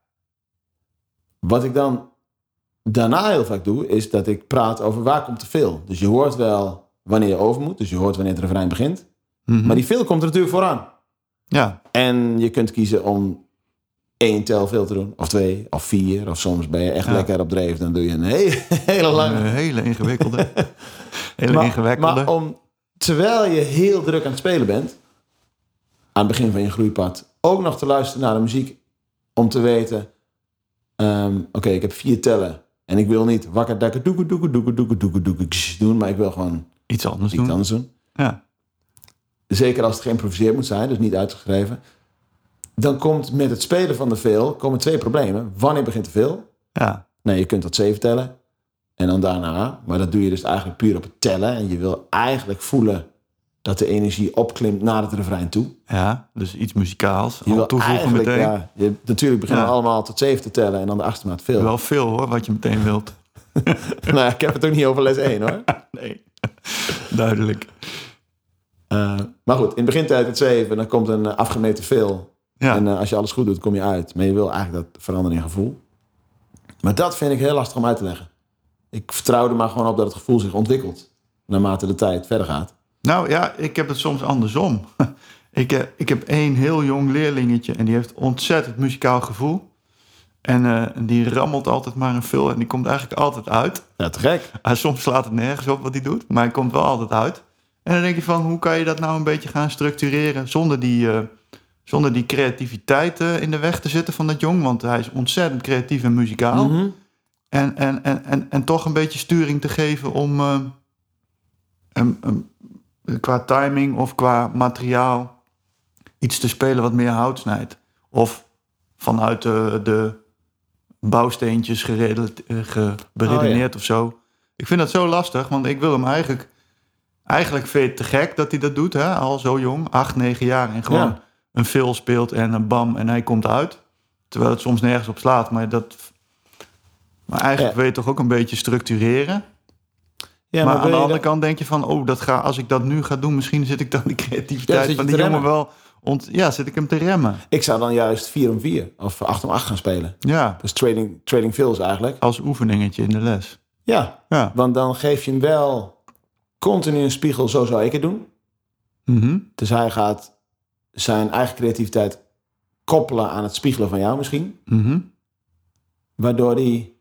Wat ik dan daarna heel vaak doe, is dat ik praat over waar komt te veel. Dus je hoort wel wanneer je over moet, dus je hoort wanneer het refrein begint. Mhm. Maar die veel komt er natuurlijk vooraan. ja, En je kunt kiezen om één tel veel te doen, of twee, of vier. Of soms ben je echt Ja. lekker op dreef, dan doe je een hele, hele lange. een eh, hele ingewikkelde. hele Maar, ingewikkelde. maar om, terwijl je heel druk aan het spelen bent, aan het begin van je groeipad, ook nog te luisteren naar de muziek om te weten, ehm, oké, ik heb vier tellen en ik wil niet wakker dakker doeke doeke doeke doeke doeke doeke ksh doen, maar ik wil gewoon Iets anders iets doen. anders doen. Ja, Zeker als het geïmproviseerd moet zijn, dus niet uitgeschreven. Dan komt met het spelen van de veel komen twee problemen. Wanneer begint de veel? ja, Nee, je kunt tot zeven tellen. En dan daarna. Maar dat doe je dus eigenlijk puur op het tellen. En je wil eigenlijk voelen dat de energie opklimt naar het refrein toe. ja. Dus iets muzikaals. Je wil Al toevoegen eigenlijk, meteen. ja, je, natuurlijk beginnen Ja. we allemaal tot zeven te tellen en dan de achtste maat veel. Wel veel hoor, wat je meteen wilt. nou, ik heb het ook niet over les één hoor. Nee. Duidelijk. Eh, maar goed, in het begin tijd tot zeven, dan komt een eh, afgemeten veel. Ja, En eh, als je alles goed doet, kom je uit. Maar je wil eigenlijk dat veranderen in gevoel. Maar dat vind ik heel lastig om uit te leggen. Ik vertrouw er maar gewoon op dat het gevoel zich ontwikkelt. Naarmate de tijd verder gaat. nou ja, ik heb het soms andersom. ik, heb, ik heb één heel jong leerlingetje en die heeft ontzettend muzikaal gevoel. En eh, die rammelt altijd maar een veel en die komt eigenlijk altijd uit. Ja, te gek. Ah, soms slaat het nergens op wat hij doet, maar hij komt wel altijd uit. En dan denk je van, hoe kan je dat nou een beetje gaan structureren zonder die, eh, zonder die creativiteit eh, in de weg te zitten van dat jong? Want hij is ontzettend creatief en muzikaal. en, en, en, en, en toch een beetje sturing te geven om eh, em- em, qua timing of qua materiaal iets te spelen wat meer hout snijdt. Of vanuit de, de bouwsteentjes gerela- eh, ge- beredeneerd of zo. Ik vind dat zo lastig, want ik wil hem eigenlijk... Eigenlijk vind je het te gek dat hij dat doet, hè? al zo jong, acht, negen jaar. En gewoon Ja. een veel speelt en een bam en hij komt uit. Terwijl het soms nergens op slaat, maar dat... Maar eigenlijk Ja. wil je toch ook een beetje structureren? Ja, maar, ben aan je de andere dan- kant denk je van, oh, dat ga, als ik dat nu ga doen, misschien zit ik dan de Ja, creativiteit zit je van die te jongen remmen. wel. Ont ja, zit ik hem te remmen. Ik zou dan juist 4 om 4 of 8 om 8 gaan spelen. Ja, Dus trading, trading fills eigenlijk. als oefeningetje in de les. Ja, Ja. want dan geef je hem wel continu een spiegel, zo zou ik het doen. Mhm. Dus hij gaat zijn eigen creativiteit koppelen aan het spiegelen van jou misschien. Mhm. Waardoor hij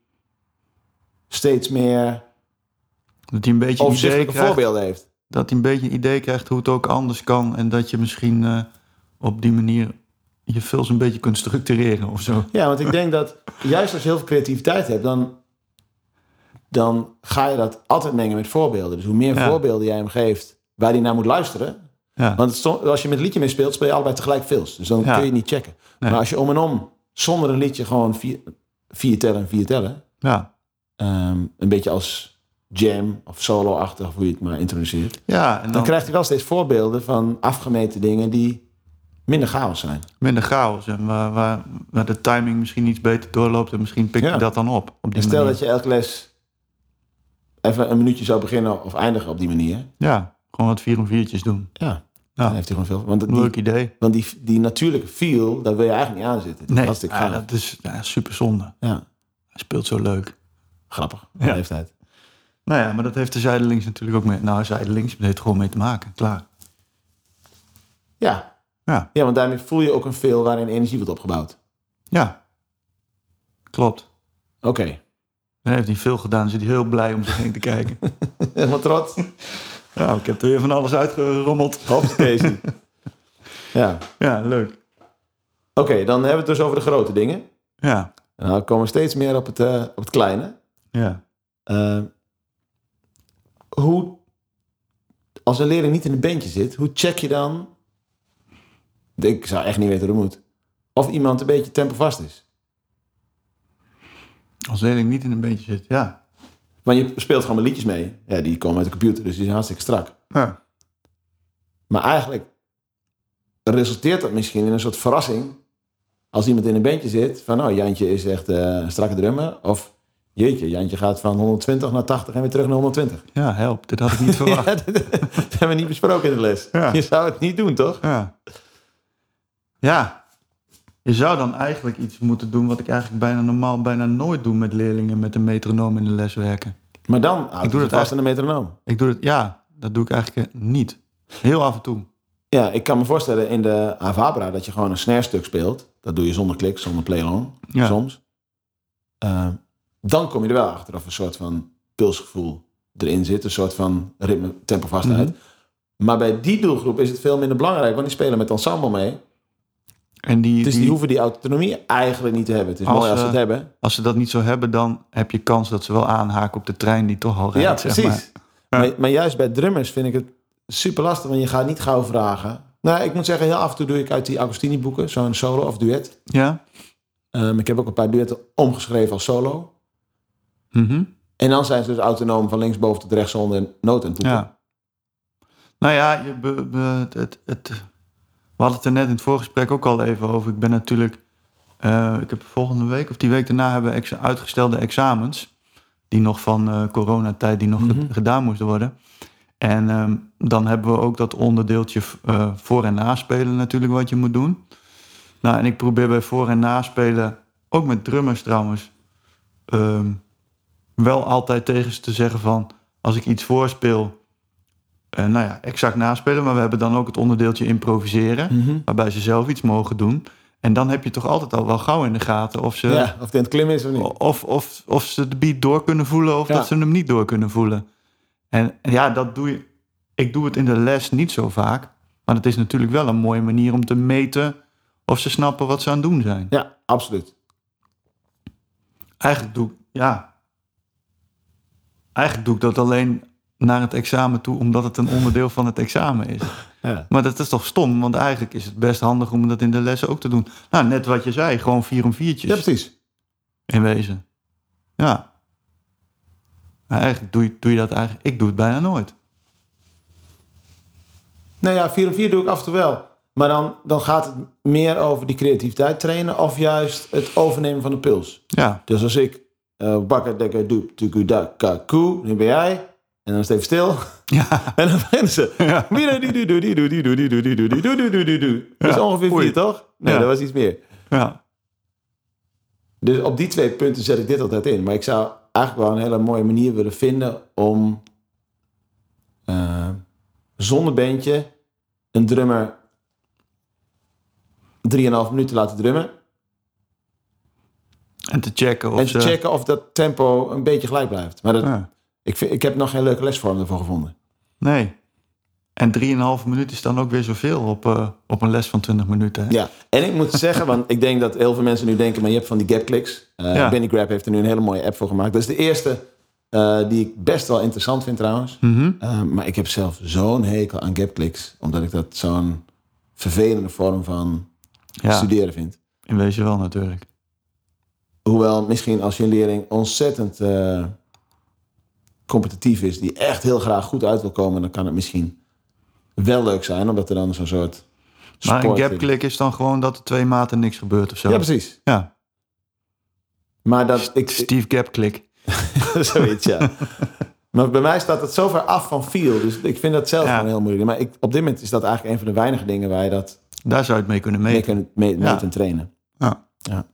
steeds meer Dat hij een beetje een idee overzichtelijke krijgt. voorbeelden heeft. Dat hij een beetje een idee krijgt hoe het ook anders kan. En dat je misschien eh, op die manier je films een beetje kunt structureren of zo. Ja, want ik denk dat juist als je heel veel creativiteit hebt, dan, dan ga je dat altijd mengen met voorbeelden. Dus hoe meer Ja. voorbeelden jij hem geeft waar hij naar moet luisteren. Ja. Want het sto- als je met een liedje mee speelt, speel je allebei tegelijk films. Dus dan Ja. kun je niet checken. Nee. Maar als je om en om zonder een liedje gewoon vier, vier tellen en vier tellen. Ja. ehm, een beetje als jam of solo-achtig, hoe je het maar introduceert. Dan, ja, en dan, krijgt hij wel steeds voorbeelden van afgemeten dingen die minder chaos zijn. minder chaos. En waar, waar, waar de timing misschien iets beter doorloopt. En misschien pik je Ja. dat dan op. op die En Dus stel manier. dat je elke les even een minuutje zou beginnen of eindigen op die manier. Ja, gewoon wat vier om viertjes doen. Ja, Ja. dan heeft hij gewoon veel. Want, die, Leuk idee. want die, die natuurlijke feel, daar wil je eigenlijk niet aan zitten. Nee, Hartstikke ja, gaaf. dat is ja, super zonde. Ja, Hij speelt zo leuk. grappig. Ja. Leeftijd. Nou ja, maar dat heeft de zijdelings natuurlijk ook mee. Nou, zijdelings heeft het gewoon mee te maken. Klaar. Ja. Ja, ja, want daarmee voel je ook een feel waarin energie wordt opgebouwd. ja. Klopt. Oké, Dan heeft hij veel gedaan. Zit hij heel blij om zich heen te kijken. helemaal trots. nou, ik heb er weer van alles uitgerommeld. Hoppakee. ja, oké, Ja, leuk. dan hebben we het dus over de grote dingen. Ja, Nou, we komen steeds meer op het, eh, op het kleine. ja. Eh, hoe, als een leerling niet in een bandje zit, hoe check je dan... Ik zou echt niet weten hoe het moet. Of iemand een beetje tempovast is. Als leerling niet in een beetje zit. Ja. Want je speelt gewoon met liedjes mee. Ja, die komen uit de computer, dus die zijn hartstikke strak. ja. Maar eigenlijk resulteert dat misschien in een soort verrassing. Als iemand in een bandje zit, van nou, Jantje is echt eh, een strakke drummer. Of jeetje, Jantje gaat van 120 naar 80 en weer terug naar 120. Ja, help. Dit had ik niet verwacht. Ja, dat, dat hebben we niet besproken in de les. Ja. Je zou het niet doen, toch? Ja. Ja. Je zou dan eigenlijk iets moeten doen wat ik eigenlijk bijna normaal bijna nooit doe met leerlingen met een metronoom in de les werken. Maar dan houdt ik doe doe het dat vast aan de metronoom. Ik doe het, ja, dat doe ik eigenlijk eh, niet. Heel af en toe. Ja, ik kan me voorstellen in de Avabra dat je gewoon een snare stuk speelt. Dat doe je zonder klik, zonder play-along, Ja. soms. Eh, dan kom je er wel achter of een soort van pulsgevoel erin zit. Een soort van ritme, tempo, vastheid. Maar bij die doelgroep is het veel minder belangrijk, want die spelen met ensemble mee. En die, Dus die die- hoeven die autonomie eigenlijk niet te hebben. Het is Als, mooi als ze eh, het hebben. als ze dat niet zo hebben, dan heb je kans dat ze wel aanhaken op de trein die toch al rijdt. Ja, zeg precies. maar. Maar, maar juist bij drummers vind ik het super lastig, want je gaat niet gauw vragen. Nou, ik moet zeggen, heel af en toe doe ik uit die Agostini boeken zo'n solo of duet. Ja? Ehm, ik heb ook een paar duetten omgeschreven als solo. Mhm. En dan zijn ze dus autonoom van linksboven tot rechtsonder en noot en toepen. ja. Nou ja, je, be- be- het, het, het- we hadden het er net in het voorgesprek ook al even over. Ik ben natuurlijk, eh, ik heb volgende week of die week daarna hebben we ex- uitgestelde examens. Die nog van eh, coronatijd, die nog ge- gedaan moesten worden. En ehm, dan hebben we ook dat onderdeeltje eh, voor- en naspelen natuurlijk wat je moet doen. Nou, en ik probeer bij voor- en naspelen, ook met drummers trouwens, ehm, wel altijd tegen ze te zeggen van... als ik iets voorspeel, eh, nou ja, exact naspelen... maar we hebben dan ook het onderdeeltje improviseren... waarbij ze zelf iets mogen doen. En dan heb je toch altijd al wel gauw in de gaten of ze... Ja, of het in het klimmen is of niet. Of, of, of ze de beat door kunnen voelen of Ja. dat ze hem niet door kunnen voelen. En, en ja, dat doe je. Ik doe het in de les niet zo vaak. Maar het is natuurlijk wel een mooie manier om te meten of ze snappen wat ze aan het doen zijn. Ja, absoluut. Eigenlijk doe ik, ja. Eigenlijk doe ik dat alleen naar het examen toe, omdat het een onderdeel van het examen is. Ja. Maar dat is toch stom, want eigenlijk is het best handig om dat in de lessen ook te doen. Nou, net wat je zei, gewoon vier om viertjes. ja, precies. In wezen. Ja. Maar eigenlijk doe je, doe je dat eigenlijk... Ik doe het bijna nooit. Nou ja, 4 om 4 doe ik af en toe wel. Maar dan, dan gaat het meer over die creativiteit trainen of juist het overnemen van de puls. Ja. Dus als ik eh bakker dekker doep tuku da ka koe, nu ben jij. En dan is het even stil. Ja. En dan beginnen ze. Mido-di-do-di-do-di-do-di-do-di-do-di-do-di-do-di-do. Dat is Ja. ongeveer Oei. vier, toch? Nee, Ja. dat was iets meer. ja. Dus op die twee punten zet ik dit altijd in. Maar ik zou eigenlijk wel een hele mooie manier willen vinden om eh, zonder bandje een drummer 3,5 minuten te laten drummen. En te checken of en te ze- checken of dat tempo een beetje gelijk blijft. Maar dat, Ja. ik, vind, ik heb nog geen leuke lesvorm ervoor gevonden. Nee. En 3,5 minuten is dan ook weer zoveel op, eh, op een les van 20 minuten. hè? Ja, en ik moet zeggen, want ik denk dat heel veel mensen nu denken, maar je hebt van die gapclicks. Eh Ja. Benny Grab heeft er nu een hele mooie app voor gemaakt. Dat is de eerste eh, die ik best wel interessant vind trouwens. Eh, maar ik heb zelf zo'n hekel aan gapclicks, omdat ik dat zo'n vervelende vorm van Ja, studeren vind. in wezen wel natuurlijk. Hoewel misschien als je een leerling ontzettend eh, competitief is, die echt heel graag goed uit wil komen, dan kan het misschien wel leuk zijn, omdat er dan zo'n soort. Maar een sport in- gapklik is dan gewoon dat er twee maten niks gebeurt of zo. Ja, precies. Ja, Maar dat ik, Steve Gapklik. Zoiets, ja. Maar bij mij staat het zo ver af van feel. Dus ik vind dat zelf Ja. gewoon heel moeilijk. Maar ik, op dit moment is dat eigenlijk een van de weinige dingen waar je dat Daar zou je het mee kunnen mee meten. kunt mee, Ja. meten en trainen. Ja. Ja.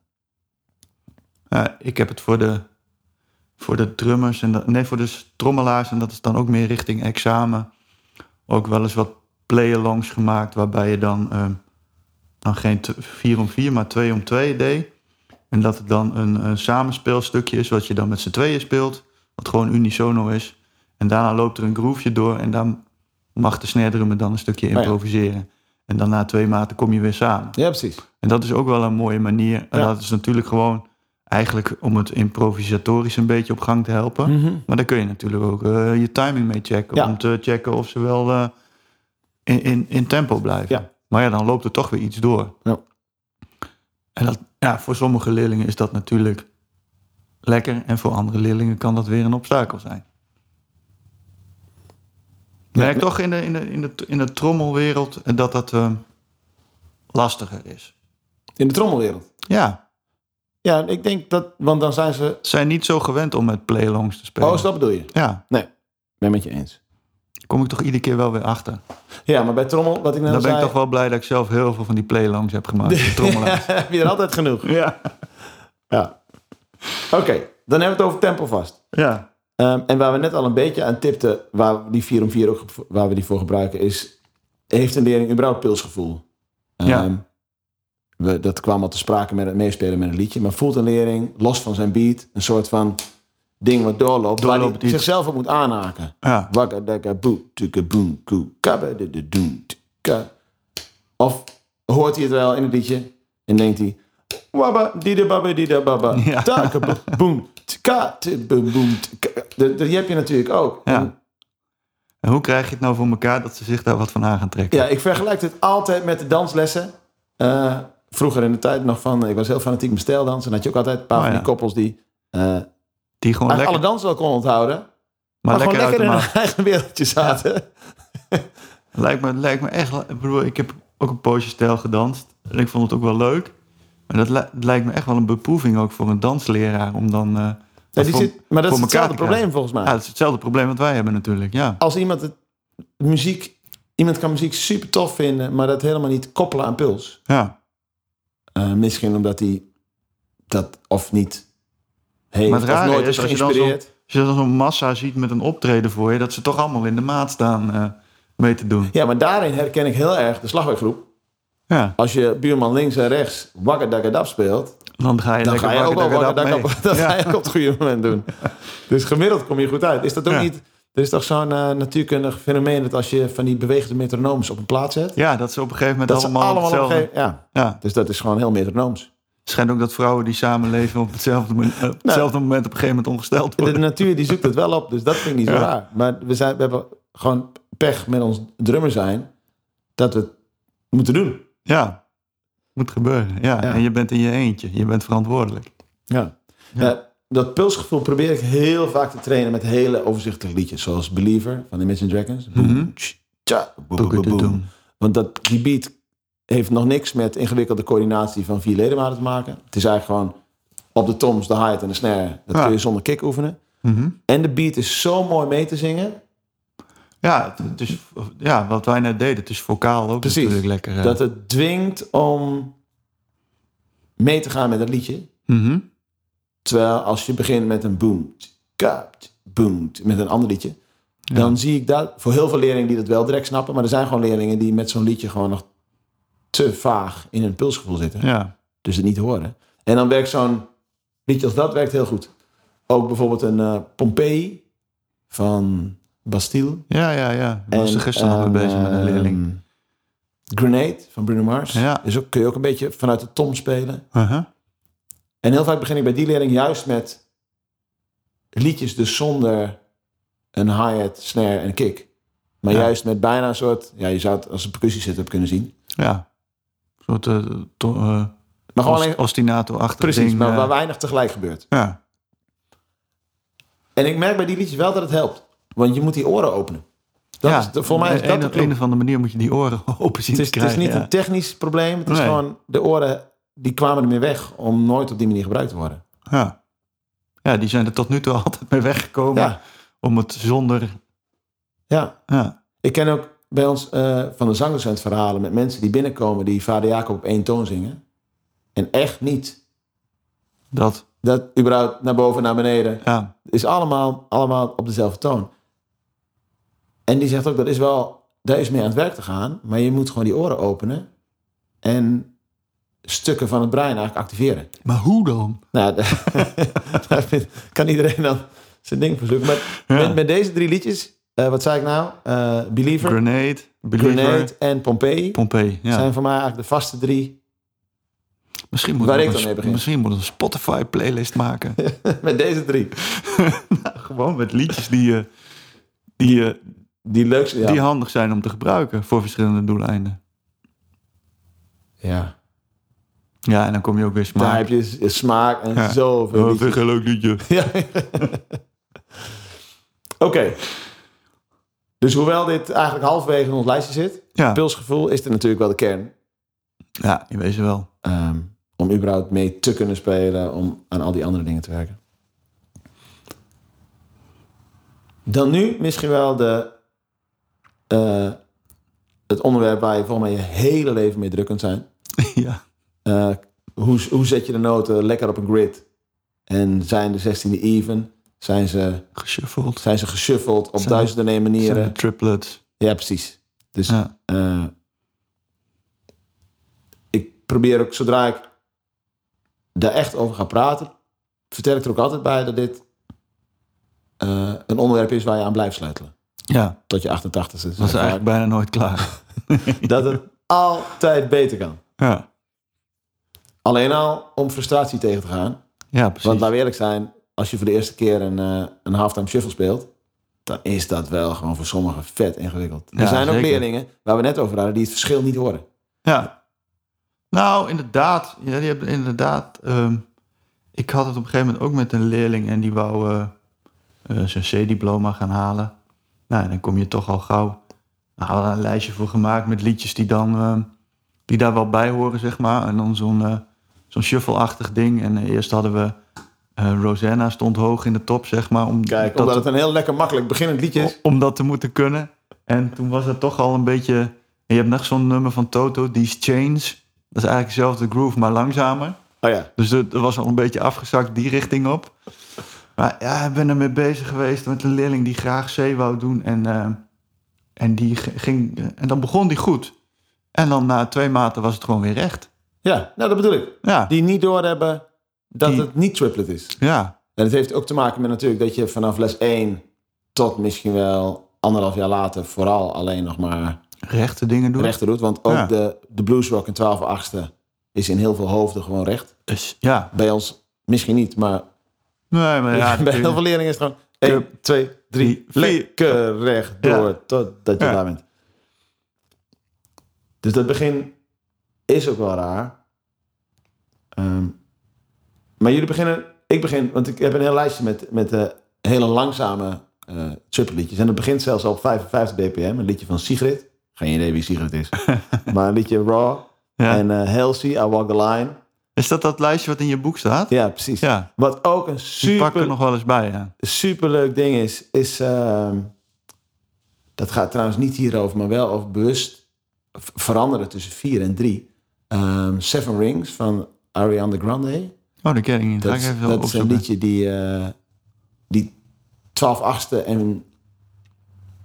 Ja, ik heb het voor de, voor de drummers en dat- nee, voor de trommelaars en dat is dan ook meer richting examen. Ook wel eens wat play-alongs gemaakt waarbij je dan, ehm, dan geen 4 om 4, maar 2 om 2 deed. En dat het dan een, eh, samenspeelstukje is wat je dan met z'n tweeën speelt, wat gewoon unisono is. En daarna loopt er een groefje door en daar mag de snare drummer dan een stukje Oh ja. improviseren. En dan na twee maten kom je weer samen. Ja, precies. En dat is ook wel een mooie manier. En Ja. dat is natuurlijk gewoon eigenlijk om het improvisatorisch een beetje op gang te helpen. Maar daar kun je natuurlijk ook eh, je timing mee checken. Mhm. Ja. Om te checken of ze wel eh, in, in, in tempo blijven. Ja. Maar ja, dan loopt er toch weer iets door. Ja. En dat, ja, voor sommige leerlingen is dat natuurlijk lekker. En voor andere leerlingen kan dat weer een obstakel zijn. Ik merk toch in de, in, de, in, de, in de trommelwereld eh, dat dat eh, lastiger is. In de trommelwereld. Ja, Ja, ik denk dat, want dan zijn ze. zijn niet zo gewend om met playlongs te spelen. Oh, is dat bedoel je? Ja, Nee, ik ben met je eens. daar kom ik toch iedere keer wel weer achter. Ja, maar bij trommel, wat ik net Dan al ben ik zei, toch wel blij dat ik zelf heel veel van die playlongs heb gemaakt. die trommelaars. heb je er altijd genoeg. ja. Ja. Oké, dan hebben we het over tempo vast. ja. Ehm, en waar we net al een beetje aan tipten, waar we die 4 om 4 ook ge- waar we die voor gebruiken, is: heeft een leerling überhaupt pilsgevoel? Ehm, Ja. we, dat kwam al te sprake met het meespelen met een liedje. Maar voelt een leerling, los van zijn beat, een soort van ding wat doorloopt, waar Doorloopt hij iets. zichzelf op moet aanhaken? Ja. Wakka dakka boe, tukka boem, koe, kabba de de doem, tukka. Of hoort hij het wel in het liedje en denkt hij... Wabba, dida babba, dida babba, Ja. taka bo- boem, tka, te boem, boem, tka. De- de- Die heb je natuurlijk ook. Ja. En, En hoe krijg je het nou voor elkaar dat ze zich daar wat van aan gaan trekken? ja, ik vergelijk dit altijd met de danslessen. Eh, vroeger in de tijd nog van, ik was heel fanatiek met stijldansen. Dan had je ook altijd een paar Oh, van ja. die koppels die eh, Die gewoon eigenlijk lekker, alle dansen wel konden onthouden. Maar, maar gewoon lekker uit lekker de in maat. hun eigen wereldje zaten. Lijkt me, lijkt me echt... Ik bedoel, ik heb ook een poosje stijl gedanst. En ik vond het ook wel leuk. Maar dat li- lijkt me echt wel een beproeving ook voor een dansleraar. Om dan... eh, Ja, dat die voor- zit, maar dat is voor elkaar hetzelfde te krijgen. probleem volgens mij. Ja, dat is hetzelfde probleem wat wij hebben natuurlijk. Ja. als iemand het, muziek, iemand kan muziek super tof vinden, maar dat helemaal niet koppelen aan puls. ja. Eh, misschien omdat hij dat of niet heeft, Maar het of rare nooit is is, als je, dan zo'n, geïnspireerd. als je dan zo'n massa ziet met een optreden voor je, dat ze toch allemaal in de maat staan eh, mee te doen. Ja, maar daarin herken ik heel erg de slagwerkgroep. Ja, Als je buurman links en rechts wakkerdakkerdap speelt, dan ga je dan lekker ga je ook wel wakkerdakkerdap wakkerdakkerdap. Dat mee. ga Ja. je ook op het goede moment doen. Dus gemiddeld kom je goed uit. Is dat ook Ja. niet... Er is toch zo'n eh, natuurkundig fenomeen dat als je van die bewegende metronooms op een plaat zet, Ja, dat ze op een gegeven moment dat ze allemaal, allemaal op een hetzelfde... gegeven... Ja, Ja, dus dat is gewoon heel metronooms. het schijnt ook dat vrouwen die samenleven op hetzelfde, mo- Nou. eh, op hetzelfde moment op een gegeven moment ongesteld De worden. natuur die zoekt het wel op, dus dat vind ik niet zo Ja. raar. Maar we, zijn, we hebben gewoon pech met ons drummer zijn dat we het moeten doen. Ja, moet gebeuren. Ja. Ja. en je bent in je eentje. Je bent verantwoordelijk. Ja. Ja, dat pulsgevoel probeer ik heel vaak te trainen met hele overzichtelijke liedjes. Zoals Believer van de Imagine Dragons. Boom, tsch, tja, boem, boem, boem, boem. Want dat, die beat heeft nog niks met ingewikkelde coördinatie van vier ledematen te maken. Het is eigenlijk gewoon op de toms, de hi-hat en de snare. Dat Ja. kun je zonder kick oefenen. Mhm. En de beat is zo mooi mee te zingen. Ja, het, het is, ja, wat wij net deden, het is vocaal ook Precies. natuurlijk lekker. eh. Dat het dwingt om mee te gaan met het liedje. Mhm. Terwijl als je begint met een boom, tjika, tj- boom, tj- met een ander liedje. Dan zie ik dat voor heel veel leerlingen die dat wel direct snappen. Maar er zijn gewoon leerlingen die met zo'n liedje gewoon nog te vaag in hun pulsgevoel zitten. Ja. Dus het niet horen. En dan werkt zo'n liedje als dat werkt heel goed. Ook bijvoorbeeld een eh Pompeii van Bastille. ja, ja, ja. We En, waren gisteren nog mee bezig met een ehm, leerling. Grenade van Bruno Mars. Ja. Is ook, kun je ook een beetje vanuit de tom spelen. Uh-huh. En heel vaak begin ik bij die leerling juist met liedjes dus zonder een hi-hat, snare en kick. Maar Ja. juist met bijna een soort, ja je zou het als een percussie setup kunnen zien. Ja. Een soort eh, to- eh, Maar gewoon ost- alleen, ostinato-achtig precies, ding, maar eh. waar weinig tegelijk gebeurt. Ja, En ik merk bij die liedjes wel dat het helpt. Want je moet die oren openen. Dat ja. e- is de- voor mij is Op dat een, de op clue. een of andere manier moet je die oren open zien Het is, te het is krijgen. niet ja. een technisch probleem. Het is Nee. gewoon de oren die kwamen ermee weg om nooit op die manier gebruikt te worden. Ja. ja, die zijn er tot nu toe altijd mee weggekomen. Ja. Om het zonder... Ja, Ja. ik ken ook bij ons eh, van de zangdocent verhalen met mensen die binnenkomen die Vader Jacob op één toon zingen. En echt niet. Dat, Dat überhaupt naar boven, naar beneden. ja. is allemaal, allemaal op dezelfde toon. En die zegt ook, dat is wel, daar is mee aan het werk te gaan, maar je moet gewoon die oren openen en stukken van het brein eigenlijk activeren. Maar hoe dan? Nou, daar vindt- kan iedereen dan zijn ding voor zoeken. Maar Ja. met, met deze drie liedjes, eh, wat zei ik nou? Eh, Believer, Grenade, Believer, Grenade en Pompeii Pompeii. Ja. zijn voor mij eigenlijk de vaste drie. Misschien moet Waar ik ik nog dan een, mee begin. Misschien moet ik een Spotify playlist maken. met deze drie. Gewoon met liedjes die, je- die, je- Die leukste, ja. die handig zijn om te gebruiken voor verschillende doeleinden. ja. Ja, en dan kom je ook weer Daar smaak. heb je s- smaak en Ja. zoveel Oh, liedjes. vind ik een leuk liedje. Ja. Oké. Dus hoewel dit eigenlijk halverwege in ons lijstje zit, Ja. pulsgevoel is dit natuurlijk wel de kern. ja, in wezen wel. Ehm, om überhaupt mee te kunnen spelen, om aan al die andere dingen te werken. Dan nu misschien wel de, eh, het onderwerp waar je volgens mij je hele leven mee druk kunt zijn. ja. Eh, hoe, hoe zet je de noten lekker op een grid? En zijn de 16e even? Zijn ze Geshuffled. zijn ze geshuffeld op Zijn- duizenden en een Zijn de manieren. triplets. Ja, precies. Dus Ja. eh, ik probeer ook, zodra ik daar echt over ga praten, vertel ik er ook altijd bij dat dit eh, een onderwerp is waar je aan blijft sleutelen. ja, Tot je 88 is. dat is eigenlijk bijna nooit klaar. Dat het altijd beter kan. Ja, Alleen al om frustratie tegen te gaan. ja precies. Want laten we eerlijk zijn, als je voor de eerste keer een, eh, een halftime shuffle speelt, dan is dat wel gewoon voor sommigen vet ingewikkeld. Ja, er zijn ook zeker. leerlingen waar we net over hadden die het verschil niet horen. Ja. Nou, inderdaad. Ja, die hebben inderdaad. ehm, ik had het op een gegeven moment ook met een leerling en die wou eh, eh, zijn C-diploma gaan halen. Nou, en dan kom je toch al gauw. Nou, we hadden daar een lijstje voor gemaakt met liedjes die dan ehm, die daar wel bij horen, zeg maar. En dan zo'n eh, zo'n shuffle-achtig ding. En eh, eerst hadden we eh, Rosanna stond hoog in de top, zeg maar. Om, Kijk, omdat het een heel lekker makkelijk beginnend liedje is. om dat te moeten kunnen. En toen was dat toch al een beetje... en Je hebt nog zo'n nummer van Toto, These Chains. Dat is eigenlijk dezelfde groove, maar langzamer. Oh ja, Dus er, er was al een beetje afgezakt die richting op. Maar ja, ik ben ermee bezig geweest met een leerling die graag C wou doen. En, eh, en, die g- ging, en dan begon die goed. En dan na twee maten was het gewoon weer recht. ja, nou dat bedoel ik. Ja, Die niet doorhebben dat Die- het niet triplet is. ja, En het heeft ook te maken met natuurlijk dat je vanaf les 1 tot misschien wel anderhalf jaar later vooral alleen nog maar rechte dingen doen. rechter doet. Want ook Ja. de, de bluesrock in 12 achtste is in heel veel hoofden gewoon recht. Dus, ja, Bij ons misschien niet, maar nee, maar ja. bij heel veel leerlingen is het gewoon 1, 2, drie, 3, vier. lekker recht door Ja. totdat je Ja. daar bent. Dus dat begin is ook wel raar. Ehm, maar jullie beginnen, ik begin, want ik heb een heel lijstje met, met eh, hele langzame eh triple liedjes. En dat begint zelfs al op 55 bpm. Een liedje van Sigrid. Geen idee wie Sigrid is. maar een liedje Raw. Ja. En eh Halsey, I Walk the Line. Is dat dat lijstje wat in je boek staat? Ja, precies. Ja. Wat ook een Die pak er super, nog wel eens bij, ja. superleuk ding is, is... ehm, dat gaat trouwens niet hierover, maar wel over bewust v- veranderen tussen 4 en 3. Seven Rings van Ariana Grande. Oh, dat ken ik niet. Ga Dat, ik is- even dat is een opzoeken. liedje die, eh, die 12 achtste en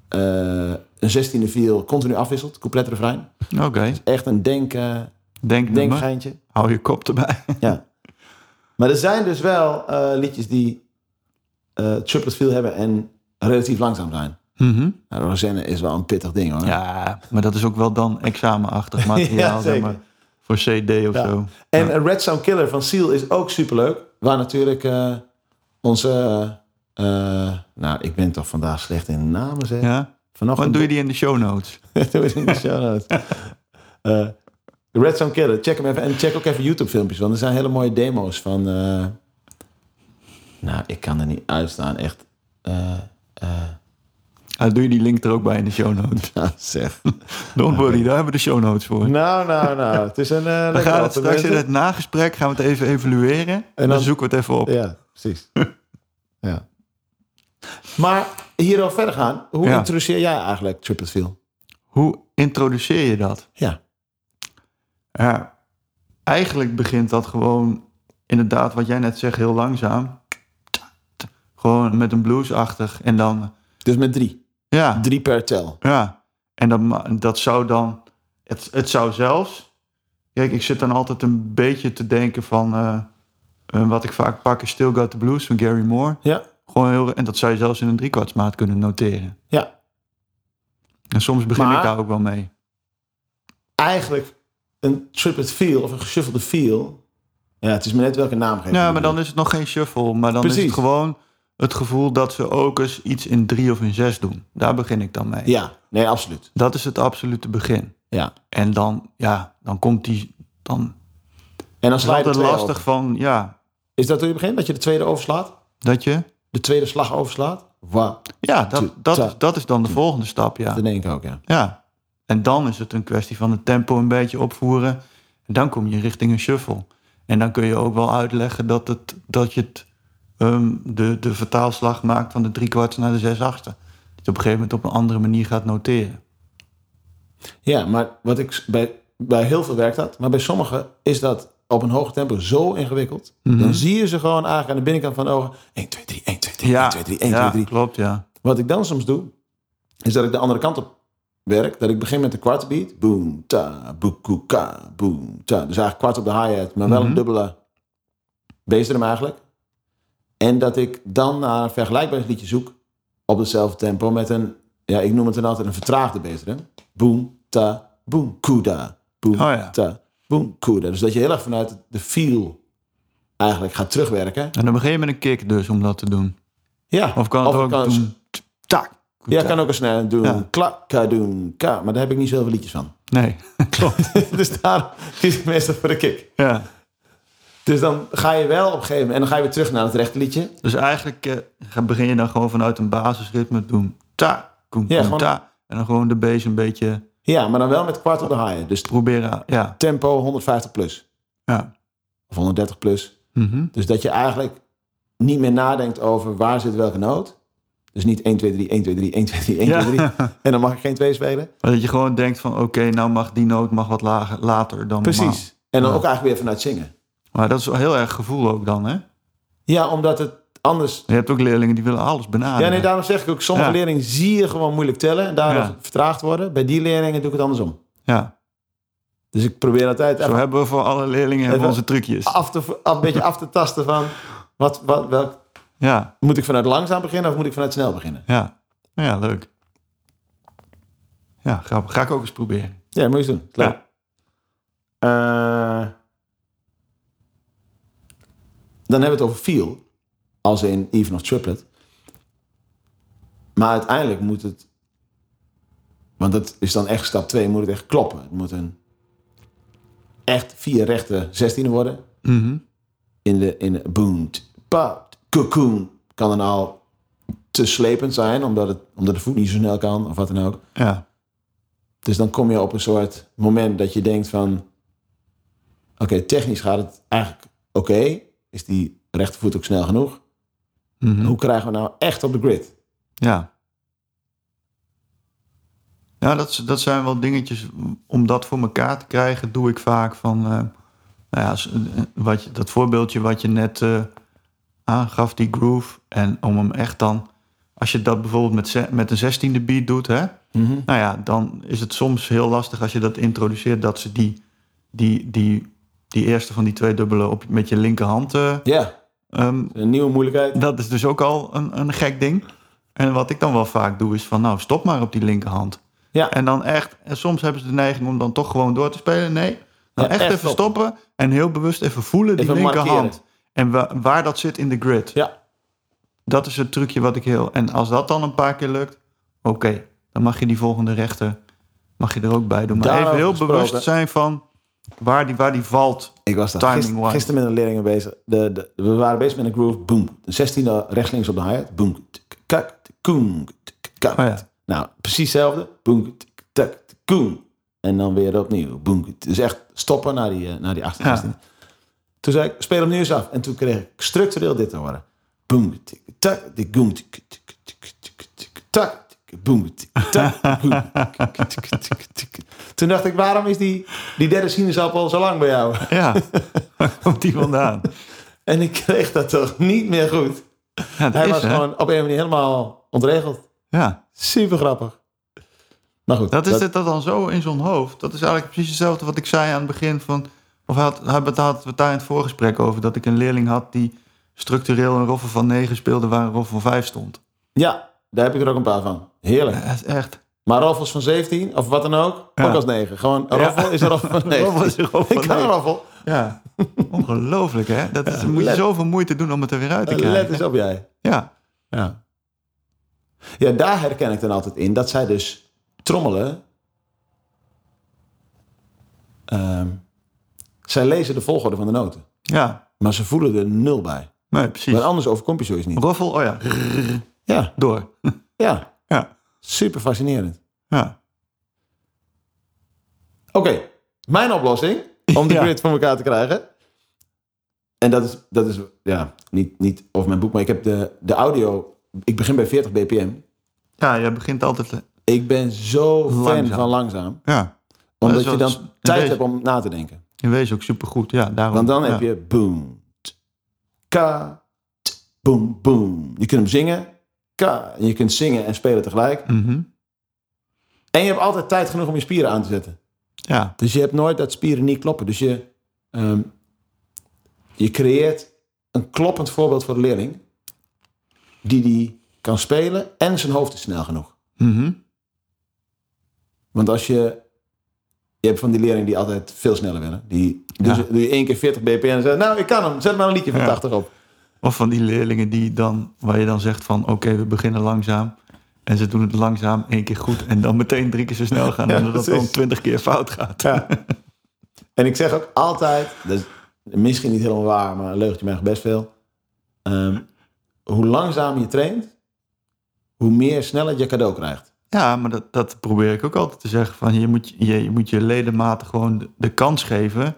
eh, een 16e viool continu afwisselt. Compleet refrein. Oké, Echt een denk, eh, denk, denk denkgeintje. Hou je kop erbij. Ja. Maar er zijn dus wel eh, liedjes die eh triplet feel hebben en relatief langzaam zijn. Mhm. Nou, Rosanne is wel een pittig ding hoor. Ja, maar dat is ook wel dan examenachtig materiaal, Ja, zeg zeker. maar. Voor CD of Ja. zo. En eh, Red Sound Killer van Seal is ook superleuk. Waar natuurlijk eh, onze... eh, eh, nou, ik ben toch vandaag slecht in namen zeg. Ja? Vanochtend Want doe je die in de show notes? Doe het in de show notes. Eh, Red Sound Killer, check hem even. En check ook even YouTube filmpjes, want er zijn hele mooie demo's van... eh, nou, ik kan er niet uitstaan, echt. Eh, Ah, doe je die link er ook bij in de show notes? nou, zeg. Don't worry, daar hebben we de show notes voor. nou, nou, nou. Het is een eh We lekker gaan het straks in alfabet. het nagesprek gaan we het even evalueren. En dan, dan- zoeken we het even op. Ja, precies. ja. Maar hierover verder gaan. Hoe Ja. introduceer jij eigenlijk Triplet Feel? Hoe introduceer je dat? Ja. Ja, eigenlijk begint dat gewoon inderdaad wat jij net zegt heel langzaam. Gewoon met een bluesachtig en dan Dus met drie. ja, Drie per tel. ja. En dat, ma- dat zou dan het, het zou zelfs kijk, ik zit dan altijd een beetje te denken van eh, eh, wat ik vaak pak is Still Got the Blues van Gary Moore. Ja. Gewoon heel, en dat zou je zelfs in een driekwartsmaat kunnen noteren. Ja. En soms begin Maar- ik daar ook wel mee. eigenlijk een triplet feel of een geshuffelde feel. Ja, het is maar net welke naam geven. Ja, maar dan is het nog geen shuffle. Maar dan is Precies. het gewoon het gevoel dat ze ook eens iets in drie of in zes doen. Daar begin ik dan mee. Ja, nee, absoluut. Dat is het absolute begin. Ja. En dan, ja, dan komt die... Dan En dan is sla je de altijd tweede lastig over. van, ja, Is dat hoe je begint? Dat je de tweede overslaat? dat je... De tweede slag overslaat? Wa. Ja, dat, Tu- dat, ta- is, dat is dan de volgende stap, ja. Dat denk ik ook, ja. ja. En dan is het een kwestie van het tempo een beetje opvoeren. En dan kom je richting een shuffle. En dan kun je ook wel uitleggen dat, het, dat je het, ehm, de, de vertaalslag maakt van de driekwarts naar de zesachtste. Dat je op een gegeven moment op een andere manier gaat noteren. Ja, maar wat ik s- bij, bij heel veel werkt dat. Maar bij sommigen is dat op een hoog tempo zo ingewikkeld. Mhm. Dan zie je ze gewoon eigenlijk aan de binnenkant van de ogen. 1, 2, 3, 1, 2, 3, 1, 2, 3, 1, ja 2, 3. klopt, ja. Wat ik dan soms doe, is dat ik de andere kant op werk. Dat ik begin met een kwart beat. Boom, ta, boekuka, boom, ta. Dus eigenlijk kwart op de hi-hat, maar Mhm. wel een dubbele bassdrum eigenlijk. En dat ik dan naar een vergelijkbaar liedje zoek op hetzelfde tempo met een, ja, ik noem het dan altijd een vertraagde bassdrum. Boom, ta, boom, kuda, boom, Oh ja. ta, boom, kuda. Dus dat je heel erg vanuit de feel eigenlijk gaat terugwerken. En dan begin je met een kick dus om dat te doen. Ja. Of kan het ook kan- doen... Tak. Ja, ik kan ook een snelle doen. Ja. Klak, ka, doen, ka. Maar daar heb ik niet zoveel liedjes van. Nee, klopt. dus daar kies ik meestal voor de kick. Ja. Dus dan ga je wel op een gegeven moment... En dan ga je weer terug naar het rechte liedje. Dus eigenlijk eh, ga- begin je dan gewoon vanuit een basisritme doen. Ta, koen, Ja, koen, gewoon- ta. En dan gewoon de bass een beetje Ja, maar dan wel met kwart op de haaien. Dus proberen. Ja, tempo 150 plus. ja. Of 130 plus. Mhm. Dus dat je eigenlijk niet meer nadenkt over waar zit welke noot. Dus niet 1, 2, 3, 1, 2, 3, 1, 2, 3, 1, 2, 3. En dan mag ik geen 2 spelen. Maar dat je gewoon denkt van oké, nou mag die noot mag wat lager, later dan normaal. Precies. En dan ook eigenlijk weer vanuit zingen. Maar dat is wel heel erg gevoel ook dan, hè? Ja, omdat het anders Je hebt ook leerlingen die willen alles benaderen. Ja, nee, daarom zeg ik ook, sommige Ah, Ja. leerlingen zie je gewoon moeilijk tellen en daardoor Ja. vertraagd worden. Bij die leerlingen doe ik het andersom. Ja. Dus ik probeer altijd Zo even hebben we voor alle leerlingen hebben we Even- Ah. onze trucjes. af te, af, een beetje af te tasten van, wat, wat, welk, Ja, moet ik vanuit langzaam beginnen of moet ik vanuit snel beginnen? ja. Ja, leuk. Ja, grappig. Ga ik ook eens proberen. Ja, moet je eens doen. Leuk. Ja. Eh, dan hebben we het over feel, als in even of triplet. Maar uiteindelijk moet het, want dat is dan echt stap 2, moet het echt kloppen. Het moet een echt vier rechte 16 worden. Mhm. In de, in de boomt, pout, cocoon. Kan dan al te slepend zijn, omdat, het, omdat de voet niet zo snel kan of wat dan ook. Ja. Dus dan kom je op een soort moment dat je denkt van... technisch gaat het eigenlijk oké. Is die rechtervoet ook snel genoeg? Mhm. Hoe krijgen we nou echt op de grid? Ja. Ja, dat, is- dat zijn wel dingetjes. Om dat voor elkaar te krijgen, doe ik vaak van. eh, nou ja, als- eh, wat je, dat voorbeeldje wat je net eh, aangaf, die groove. En om hem echt dan. Als je dat bijvoorbeeld met, ze- met een zestiende beat doet, hè? Nou ja, dan is het soms heel lastig als je dat introduceert. dat ze die, die, die, die eerste van die twee dubbelen op, met je linkerhand eh, Ja, ehm, een nieuwe moeilijkheid. dat is dus ook al een, een gek ding. En wat ik dan wel vaak doe is van, nou, stop maar op die linkerhand. Ja. En dan echt, en soms hebben ze de neiging om dan toch gewoon door te spelen. Nee, dan Ja, echt, echt even stoppen. stoppen. en heel bewust even voelen die Even linkerhand. markeren. En wa- waar dat zit in de grid. Ja, Dat is het trucje wat ik heel... En als dat dan een paar keer lukt, oké, dan mag je die volgende rechter mag je er ook bij doen. Maar Daarover even heel gesproken. bewust zijn van waar die, waar die valt. ik was daar Timing gisteren, wise. gisteren met een leerlingen bezig. De, de, we waren bezig met een groove. Boom. Een 16e rechts-links op de hi-hat. Boom. tik, Kak. tik, Koem. tik, kak. Oh ja. Nou, precies hetzelfde. Boom. tik, tak, tik, Koem. En dan weer opnieuw. Boom. Dus echt stoppen naar die, eh, naar die achterste. Ja. Toen zei ik, speel hem nu eens af. En toen kreeg ik structureel dit te horen. Boom, tik, tak, tik, boom, tik, tik, tik, tik, tik, tak, tik, boom, tik, tak, tik, boom, tik, tik, tik, tik. Toen dacht ik, waarom is die, die derde sinaasappel zo lang bij jou? Ja, waar komt die vandaan? En ik kreeg dat toch niet meer goed. Ja, dat Hij is, was hè? gewoon op een manier helemaal ontregeld. Ja. Super grappig. Maar goed. Dat is dat, dat dan zo in zo'n hoofd. Dat is eigenlijk precies hetzelfde wat ik zei aan het begin van. Of had, had, had, hadden we het daar in het voorgesprek over dat ik een leerling had die structureel een roffel van 9 speelde waar een roffel van 5 stond. Ja, daar heb ik er ook een paar van. Heerlijk. Dat is echt. Maar roffels van 17 of wat dan ook, Ja. ook als 9. Gewoon, een roffel is een roffel van 9. Roffel is een roffel van ik kan een 9. roffel. Ja, ongelooflijk hè. Dat is, moet je let- zoveel moeite doen om het er weer uit te Let krijgen. eens op jij. Ja, Ja. ja, daar herken ik dan altijd in dat zij dus trommelen. Ehm, zij lezen de volgorde van de noten, ja. maar ze voelen er nul bij. Nee, precies. Want anders overkomt je zoiets niet. Roffel, oh ja, Ja, door. ja, Ja, super fascinerend. ja. Oké, mijn oplossing om de Ja. grid voor elkaar te krijgen. En dat is, dat is ja, niet, niet over mijn boek, maar ik heb de, de audio. Ik begin bij 40 bpm. Ja, jij begint altijd. eh, Ik ben zo fan Langzaam. van langzaam. Ja, Omdat Dat is je wel- dan dat is- tijd deze- hebt om na te denken. in wezen ook supergoed. Ja, daarom. Want dan ja. heb je boom, t, ka, t, boom, boom. Je kunt hem zingen, ka. En je kunt zingen en spelen tegelijk. Mhm. En je hebt altijd tijd genoeg om je spieren aan te zetten. Ja, Dus je hebt nooit dat spieren niet kloppen. Dus je, ehm, je creëert een kloppend voorbeeld voor de leerling. Die die kan spelen en zijn hoofd is snel genoeg. Mhm. Want als je... Je hebt van die leerlingen die altijd veel sneller willen. Die, dus Ja. doe je één keer 40 bpm en zegt... Nou, ik kan hem. Zet maar een liedje van Ja. 80 op. Of van die leerlingen die dan, waar je dan zegt van oké, we beginnen langzaam. En ze doen het langzaam één keer goed en dan meteen drie keer zo snel gaan. Ja, en dat het dan precies. twintig keer fout gaat. Ja. en ik zeg ook altijd, dat is misschien niet helemaal waar, maar een leugentje mij nog best veel. Ehm, hoe langzamer je traint, hoe meer sneller je cadeau krijgt. Ja, maar dat, dat probeer ik ook altijd te zeggen. Van, je, moet, je, je moet je ledematen gewoon de, de kans geven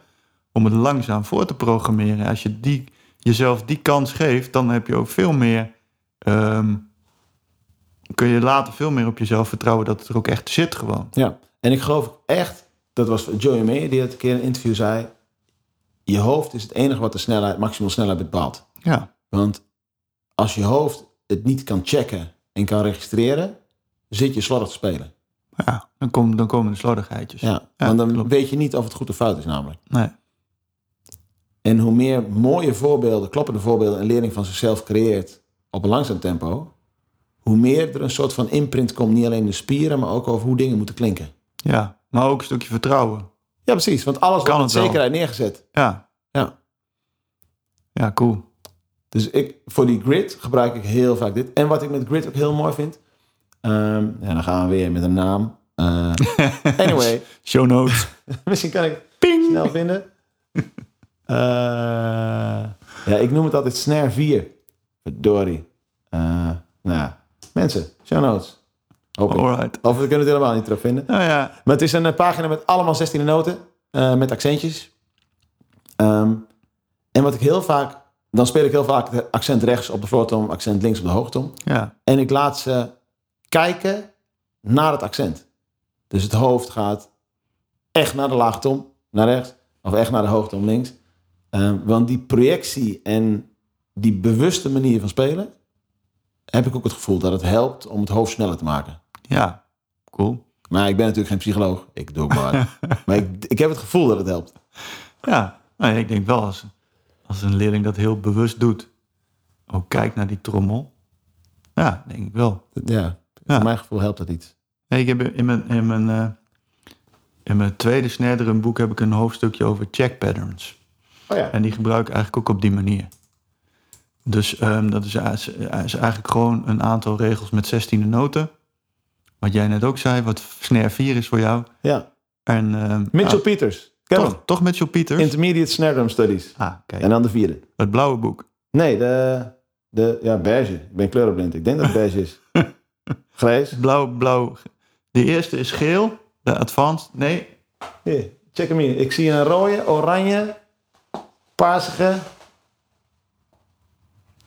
om het langzaam voor te programmeren. Als je die, jezelf die kans geeft, dan heb je ook veel meer... ehm, kun je later veel meer op jezelf vertrouwen dat het er ook echt zit gewoon. Ja. En ik geloof echt, dat was Joey May die dat een keer in een interview zei. Je hoofd is het enige wat de snelheid, maximaal snelheid bepaalt. Ja, Want als je hoofd het niet kan checken en kan registreren, zit je slordig te spelen. ja dan, kom, dan komen de slordigheidjes. Ja, Ja, want dan klopt. weet je niet of het goed of fout is namelijk. Nee. En hoe meer mooie voorbeelden, kloppende voorbeelden en lering van zichzelf creëert op een langzaam tempo, hoe meer er een soort van imprint komt, niet alleen in de spieren, maar ook over hoe dingen moeten klinken. Ja, maar ook een stukje vertrouwen. Ja, precies, want alles Kan wordt het met wel. zekerheid neergezet. Ja, Ja. ja cool. Dus ik, voor die grid gebruik ik heel vaak dit. En wat ik met grid ook heel mooi vind, ehm, ja, dan gaan we weer met een naam. Eh, anyway, Show notes. misschien kan ik snel vinden. Eh, ja, ik noem het altijd snare 4. Verdorie. Eh, nou, ja. mensen, show notes. Hoop ik. Alright. Of we kunnen het helemaal niet terugvinden. Nou ja, Maar het is een eh, pagina met allemaal 16 noten. eh, met accentjes. Ehm, en wat ik heel vaak... Dan speel ik heel vaak het accent rechts op de voortom, accent links op de hoogtom. Ja. En ik laat ze kijken naar het accent. Dus het hoofd gaat echt naar de laagtom, naar rechts. Of echt naar de hoogtom, links. Ehm, want die projectie en die bewuste manier van spelen... heb ik ook het gevoel dat het helpt om het hoofd sneller te maken. Ja. Cool. Maar ik ben natuurlijk geen psycholoog. Ik doe het maar. maar ik, ik heb het gevoel dat het helpt. Ja, nou, ik denk wel als, als een leerling dat heel bewust doet. Ook kijkt naar die trommel. Ja, denk ik wel. Ja, Ja. voor mijn gevoel helpt dat iets. Nee, ik heb in mijn, in mijn, eh, in mijn tweede snerdrum boek heb ik een hoofdstukje over check patterns. Oh ja. En die gebruik ik eigenlijk ook op die manier. Dus ehm, dat is, is is eigenlijk gewoon een aantal regels met 16 noten. Wat jij net ook zei, wat snare 4 is voor jou. ja. En, ehm, Mitchell ah, Peters. Ken hem. toch, toch Mitchell Peters? Intermediate Snare Drum Studies. ah, kijk. En dan de vierde. Het blauwe boek. Nee, de, de ja, beige. Ik ben kleurenblind. Ik denk dat het beige is. Grijs. Blauw, blauw. De eerste is geel. De advanced. Nee, Hier, check hem hier. Ik zie een rode, oranje, paarsige.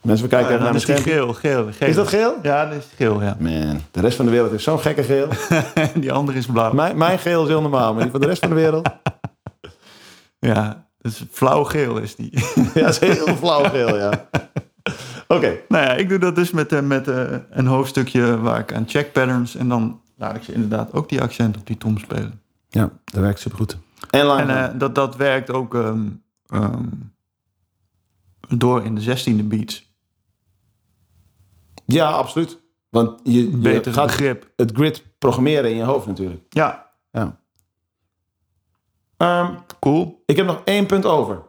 Mensen, we kijken ja, even naar Eh, dan mijn is die geel, scherm. geel, geel. Is dat geel? Ja, dat is geel, ja. Man, de rest van de wereld heeft zo'n gekke geel. En die andere is blauw. mijn, mijn geel is heel normaal, maar die van de rest van de wereld... Ja, dus flauw-geel is die. Ja, dat is heel flauw geel, ja. Oké. nou ja, ik doe dat dus met, eh, met eh, een hoofdstukje waar ik aan check patterns. En dan laat ik ze inderdaad ook die accent op die tom spelen. Ja, dat werkt supergoed. En lang. En eh, dat, dat werkt ook ehm, ehm, door in de zestiende beats. ja, absoluut. Want je, je Beter gaat grip. het grid programmeren in je hoofd natuurlijk. Ja, Ja. Ehm, cool. ik heb nog één punt over.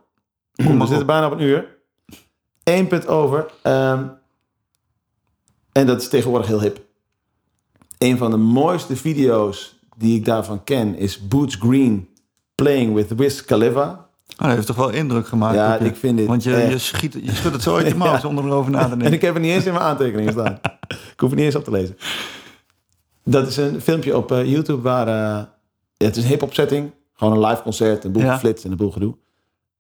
We maar zitten op. bijna op een uur. Eén punt over. ehm, en dat is tegenwoordig heel hip. Een van de mooiste video's die ik daarvan ken is Boots Green playing with Wiz Khalifa. Ah, dat heeft toch wel indruk gemaakt. Ja, op je. ik vind dit Want je, je, echt- schiet, je schudt het zo uit je mouw zonder erover na te En denken. ik heb het niet eens in mijn aantekeningen staan. ik hoef het niet eens op te lezen. Dat is een filmpje op eh, YouTube waar... eh, ja, het is een hip-hop setting. Gewoon een live concert, een boel Ja. flits en een boel gedoe.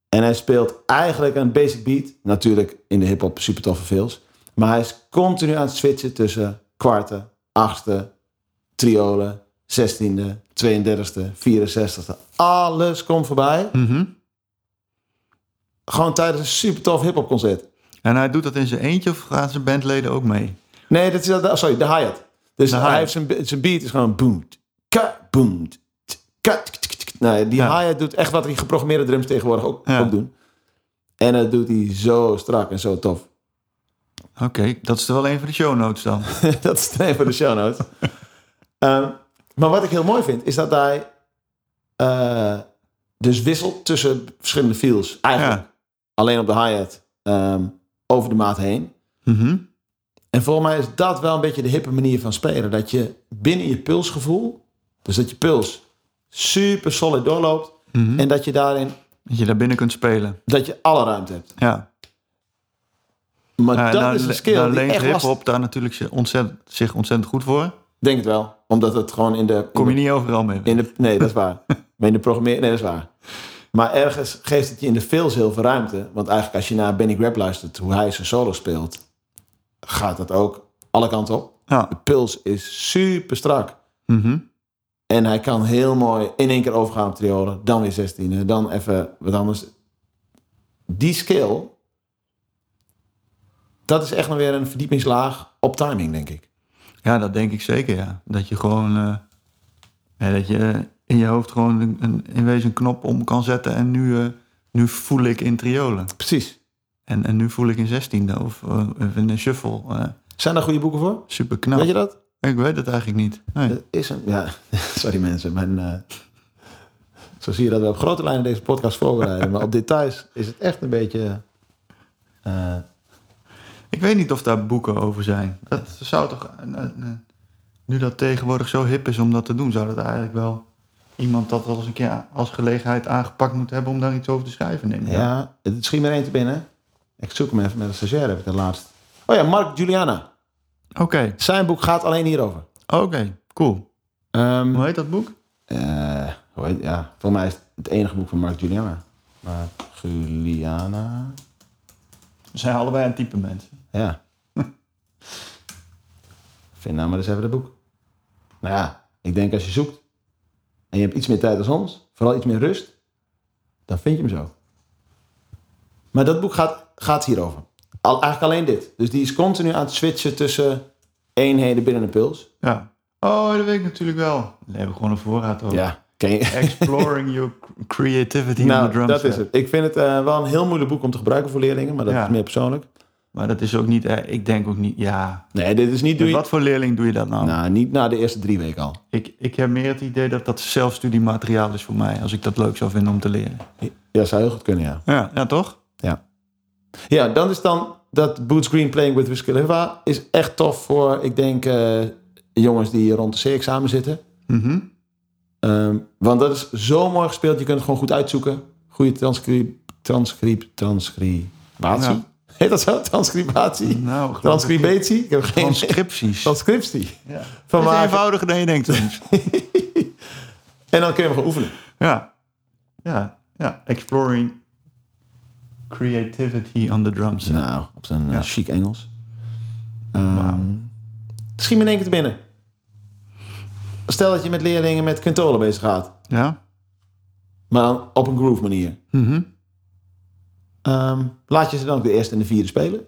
En hij speelt eigenlijk een basic beat. Natuurlijk in de hip-hop super toffe feels. Maar hij is continu aan het switchen tussen kwarten, achtste, triolen, zestiende, 32e, 64e. Alles komt voorbij. Mhm. Gewoon tijdens een super tof hip-hop concert. En hij doet dat in zijn eentje of gaan zijn bandleden ook mee? Nee, dat is dat, sorry, de hi-hat. Dus De hij hi-hat. heeft zijn, be- zijn beat is gewoon boom, ka, boom, t- ka, t- t- t- t- Nou, die Ja. hi-hat doet echt wat die geprogrammeerde drums tegenwoordig ook, Ja. ook doen. En dat doet hij zo strak en zo tof. Oké, dat is er wel een van de show notes dan. dat is het voor de show notes. Ehm, maar wat ik heel mooi vind, is dat hij eh, dus wisselt tussen verschillende feels. Eigenlijk Ja. alleen op de hi-hat ehm, over de maat heen. Mhm. En volgens mij is dat wel een beetje de hippe manier van spelen. Dat je binnen je pulsgevoel, dus dat je puls super solid doorloopt. Mhm. En dat je daarin, Dat je daar binnen kunt spelen. dat je alle ruimte hebt. Ja. Maar Nou, dat daar is een le- skill daar die leent echt lastig hip-hop daar natuurlijk zich ontzettend, zich ontzettend goed voor. Denk het wel. Omdat het gewoon in de... Kom je in niet overal mee. de, in de- nee, dat is waar. maar in de programmering, nee, dat is waar. Maar ergens geeft het je in de fills heel veel ruimte. Want eigenlijk als je naar Benny Grab luistert, hoe hij zijn solo speelt, gaat dat ook alle kanten op. Ja. De puls is super strak. Mhm. En hij kan heel mooi in één keer overgaan op triolen. Dan weer 16, dan even wat anders. Die skill, dat is echt nog weer een verdiepingslaag op timing, denk ik. ja, dat denk ik zeker, ja. Dat je gewoon... eh, ja, dat je eh, in je hoofd gewoon een, een, in wezen een knop om kan zetten. En nu, eh, nu voel ik in triolen. Precies. En, en nu voel ik in zestiende of eh, of in een shuffle. eh, Zijn daar goede boeken voor? super knap. Weet je dat? Ik weet het eigenlijk niet. Nee. Dat is een, ja, sorry mensen, mijn, eh, zo zie je dat we op grote lijnen deze podcast voorbereiden. maar op details is het echt een beetje... eh, Ik weet niet of daar boeken over zijn. Dat zou toch. eh, eh, Nu dat tegenwoordig zo hip is om dat te doen, zou dat eigenlijk wel iemand dat wel eens een keer a- als gelegenheid aangepakt moet hebben om daar iets over te schrijven, denk ik. Ja, het schiet me er één te binnen. Ik zoek hem even met een stagiair, heb ik het laatst. Oh ja, Mark Juliana. Oké, Zijn boek gaat alleen hierover. oké, cool. Ehm, Hoe heet dat boek? eh, hoe heet- ja, voor mij is het het enige boek van Mark Juliana. Maar Juliana. We zijn allebei een type mensen. Ja. Vind nou maar eens even dat boek. Nou ja, ik denk als je zoekt en je hebt iets meer tijd als ons, vooral iets meer rust, dan vind je hem zo. Maar dat boek gaat, gaat hierover. Al, eigenlijk alleen dit. Dus die is continu aan het switchen tussen eenheden binnen een puls. Ja. Oh, dat weet ik natuurlijk wel. We hebben gewoon een voorraad over. Ja, ken je? Exploring your creativity in the Nou, drum dat is set. het. Ik vind het eh, wel een heel moeilijk boek om te gebruiken voor leerlingen, maar dat Ja. is meer persoonlijk. Maar dat is ook niet... eh, ik denk ook niet... Ja. Nee, dit is niet... Doe Met je, wat voor leerling doe je dat nou? Nou, niet na de eerste drie weken al. Ik, ik heb meer het idee dat dat zelfstudiemateriaal is voor mij. Als ik dat leuk zou vinden om te leren. Ja, zou heel goed kunnen, ja. Ja, ja toch? Ja. Ja, dan is dan dat Boots Green Playing with Wiskileva is echt tof voor, ik denk, eh, jongens die rond de C-examen zitten. Mhm. Ehm, want dat is zo mooi gespeeld. Je kunt het gewoon goed uitzoeken. Goede transcrip, transcrip, transcribatie. Ja. Heet dat zo? Transcribatie? Nou, geloof ik- Transcribatie? Ik heb geen Transcripties. Dat transcriptie. Ja. Van is maken. eenvoudiger dan je denkt soms. En dan kun je hem gewoon oefenen. ja. Ja. Ja. Exploring creativity on the drum set. Nou, op zijn Ja. chic Engels. Ehm, Schiet me in één keer te binnen. Stel dat je met leerlingen met quintolen bezig gaat. Ja. Maar dan op een groove manier. Mhm. Ehm, laat je ze dan ook de eerste en de vierde spelen.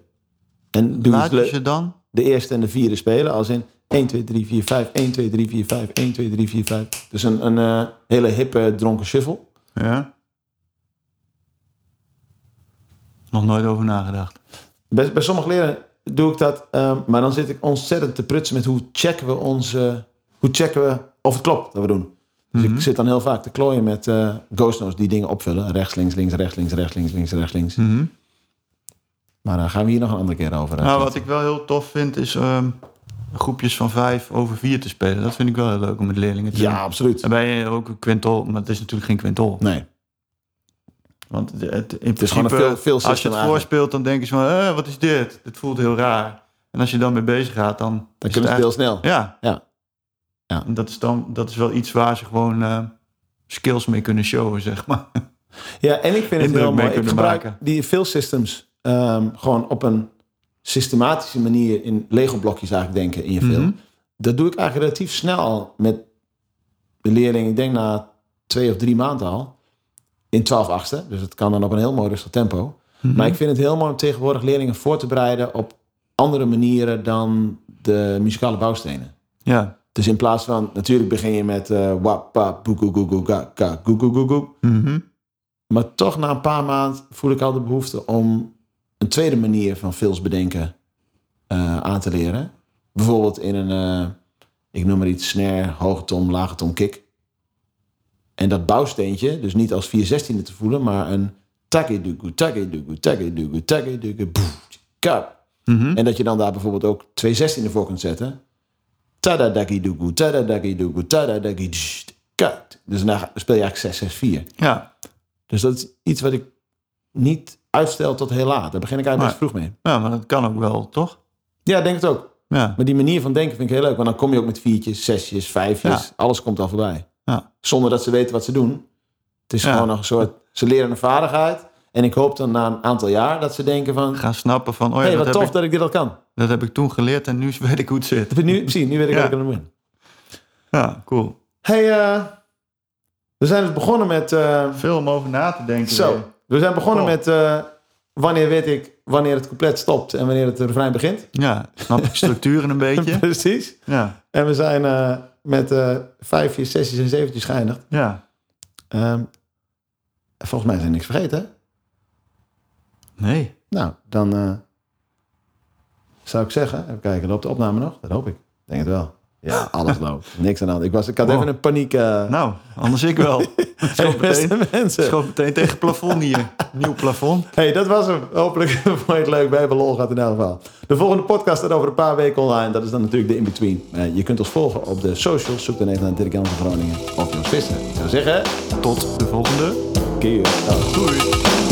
En doe Laat het je leuk. ze dan? De eerste en de vierde spelen. Als in 1, 2, 3, 4, 5. 1, 2, 3, 4, 5. 1, 2, 3, 4, 5. Dus een, een eh, hele hippe dronken shuffle. Ja. Nog nooit over nagedacht. Bij, bij sommige leren doe ik dat, ehm, maar dan zit ik ontzettend te prutsen met hoe checken we onze, hoe checken we of het klopt dat we doen. Dus Mhm. ik zit dan heel vaak te klooien met eh ghost notes die dingen opvullen. Rechts, links, links, rechts, links, rechts, links, links, rechts, links. Mhm. Maar daar gaan we hier nog een andere keer over. eh, Nou, praten. wat ik wel heel tof vind is ehm, groepjes van vijf over vier te spelen. Dat vind ik wel heel leuk om met leerlingen te Ja, doen. absoluut. Dan ben je ook een quintal, maar het is natuurlijk geen quintal. Nee. Want het, het- in is gewoon principe, een veel- veel als je system het eigenlijk. voorspeelt, dan denken ze van, eh, wat is dit? Dit voelt heel raar. En als je dan mee bezig gaat, dan... Dan is kunnen ze het heel eigenlijk- snel. Ja. Dus Ja. Ja. En dat is, dan, dat is wel iets waar ze gewoon eh, skills mee kunnen showen, zeg maar. Ja, en ik Indruk vind het heel mee mooi. Ik kunnen gebruik maken. die veel systems ehm, gewoon op een systematische manier in Lego-blokjes eigenlijk denken in je film. Dat doe ik eigenlijk relatief snel al met de leerling. Ik denk na twee of drie maanden al. In 12 achtste. Dus het kan dan op een heel mooi rustig tempo. Maar ik vind het heel mooi om tegenwoordig leerlingen voor te bereiden op andere manieren dan de muzikale bouwstenen. Ja. Dus in plaats van, natuurlijk begin je met eh wap, pap, boe, goe, goe, goe, ga, ga, goe, goe, goe, goe. Mhm. Maar toch na een paar maanden voel ik al de behoefte om een tweede manier van films bedenken eh, aan te leren. Bijvoorbeeld in een, eh, ik noem maar iets, snare, hoge tom, lage tom, kick. En dat bouwsteentje, dus niet als 416e te voelen, maar een takidugu, takidugu, takidugu, takidugu, boef, kap. En dat je dan daar bijvoorbeeld ook twee 16e voor kunt zetten. Tadadakidugu, tadadakidugu, tadadakidugu, kap. Dus dan speel je eigenlijk 664. Ja. Dus dat is iets wat ik niet uitstel tot heel laat. Daar begin ik eigenlijk best vroeg mee. ja, maar dat kan ook wel, toch? Ja, ik denk het ook. Ja. Maar die manier van denken vind ik heel leuk. Want dan kom je ook met viertjes, zesjes, vijfjes. Ja. Alles komt al voorbij. Ja. Zonder dat ze weten wat ze doen. Het is Ja. gewoon nog een soort... Ze leren een vaardigheid. En ik hoop dan na een aantal jaar dat ze denken van... Gaan snappen van, oh ja, Hé, hey, dat, wat heb tof ik, dat ik dit al kan. dat heb ik toen geleerd en nu weet ik hoe het zit. Nu, precies, nu weet ik Ja. wat ik aan het doen Ja, cool. Hé, hey, eh, we zijn dus begonnen met... eh, Veel om over na te denken. Zo, weer. we zijn begonnen Cool. met... eh, wanneer weet ik wanneer het couplet stopt en wanneer het refrein begint. Ja, snap ik structuren een beetje. Precies. Ja, En we zijn eh, met eh vijfjes, zesjes en zeventjes geëindigd. ja. Ehm, volgens mij zijn niks vergeten. hè? Nee. Nou, dan eh, zou ik zeggen... Even kijken, loopt de opname nog? Dat hoop ik. Ik Denk het wel. Ja, alles loopt. Niks aan de hand. Ik, was, ik had Wow. even een paniek... eh Nou, anders ik wel. hey, Schoot meteen, beste mensen. schoot meteen tegen het plafond hier. Nieuw plafond. Hey, dat was hem. Hopelijk vond je het leuk. Wij hebben lol gehad in elk geval. De volgende podcast staat over een paar weken online. Dat is dan natuurlijk de in-between. Eh, je kunt ons volgen op de socials. Zoek dan even naar Dirk Jan van Groningen of Jos Visser. Ik zou zeggen... Tot de volgende. Keer. Doei.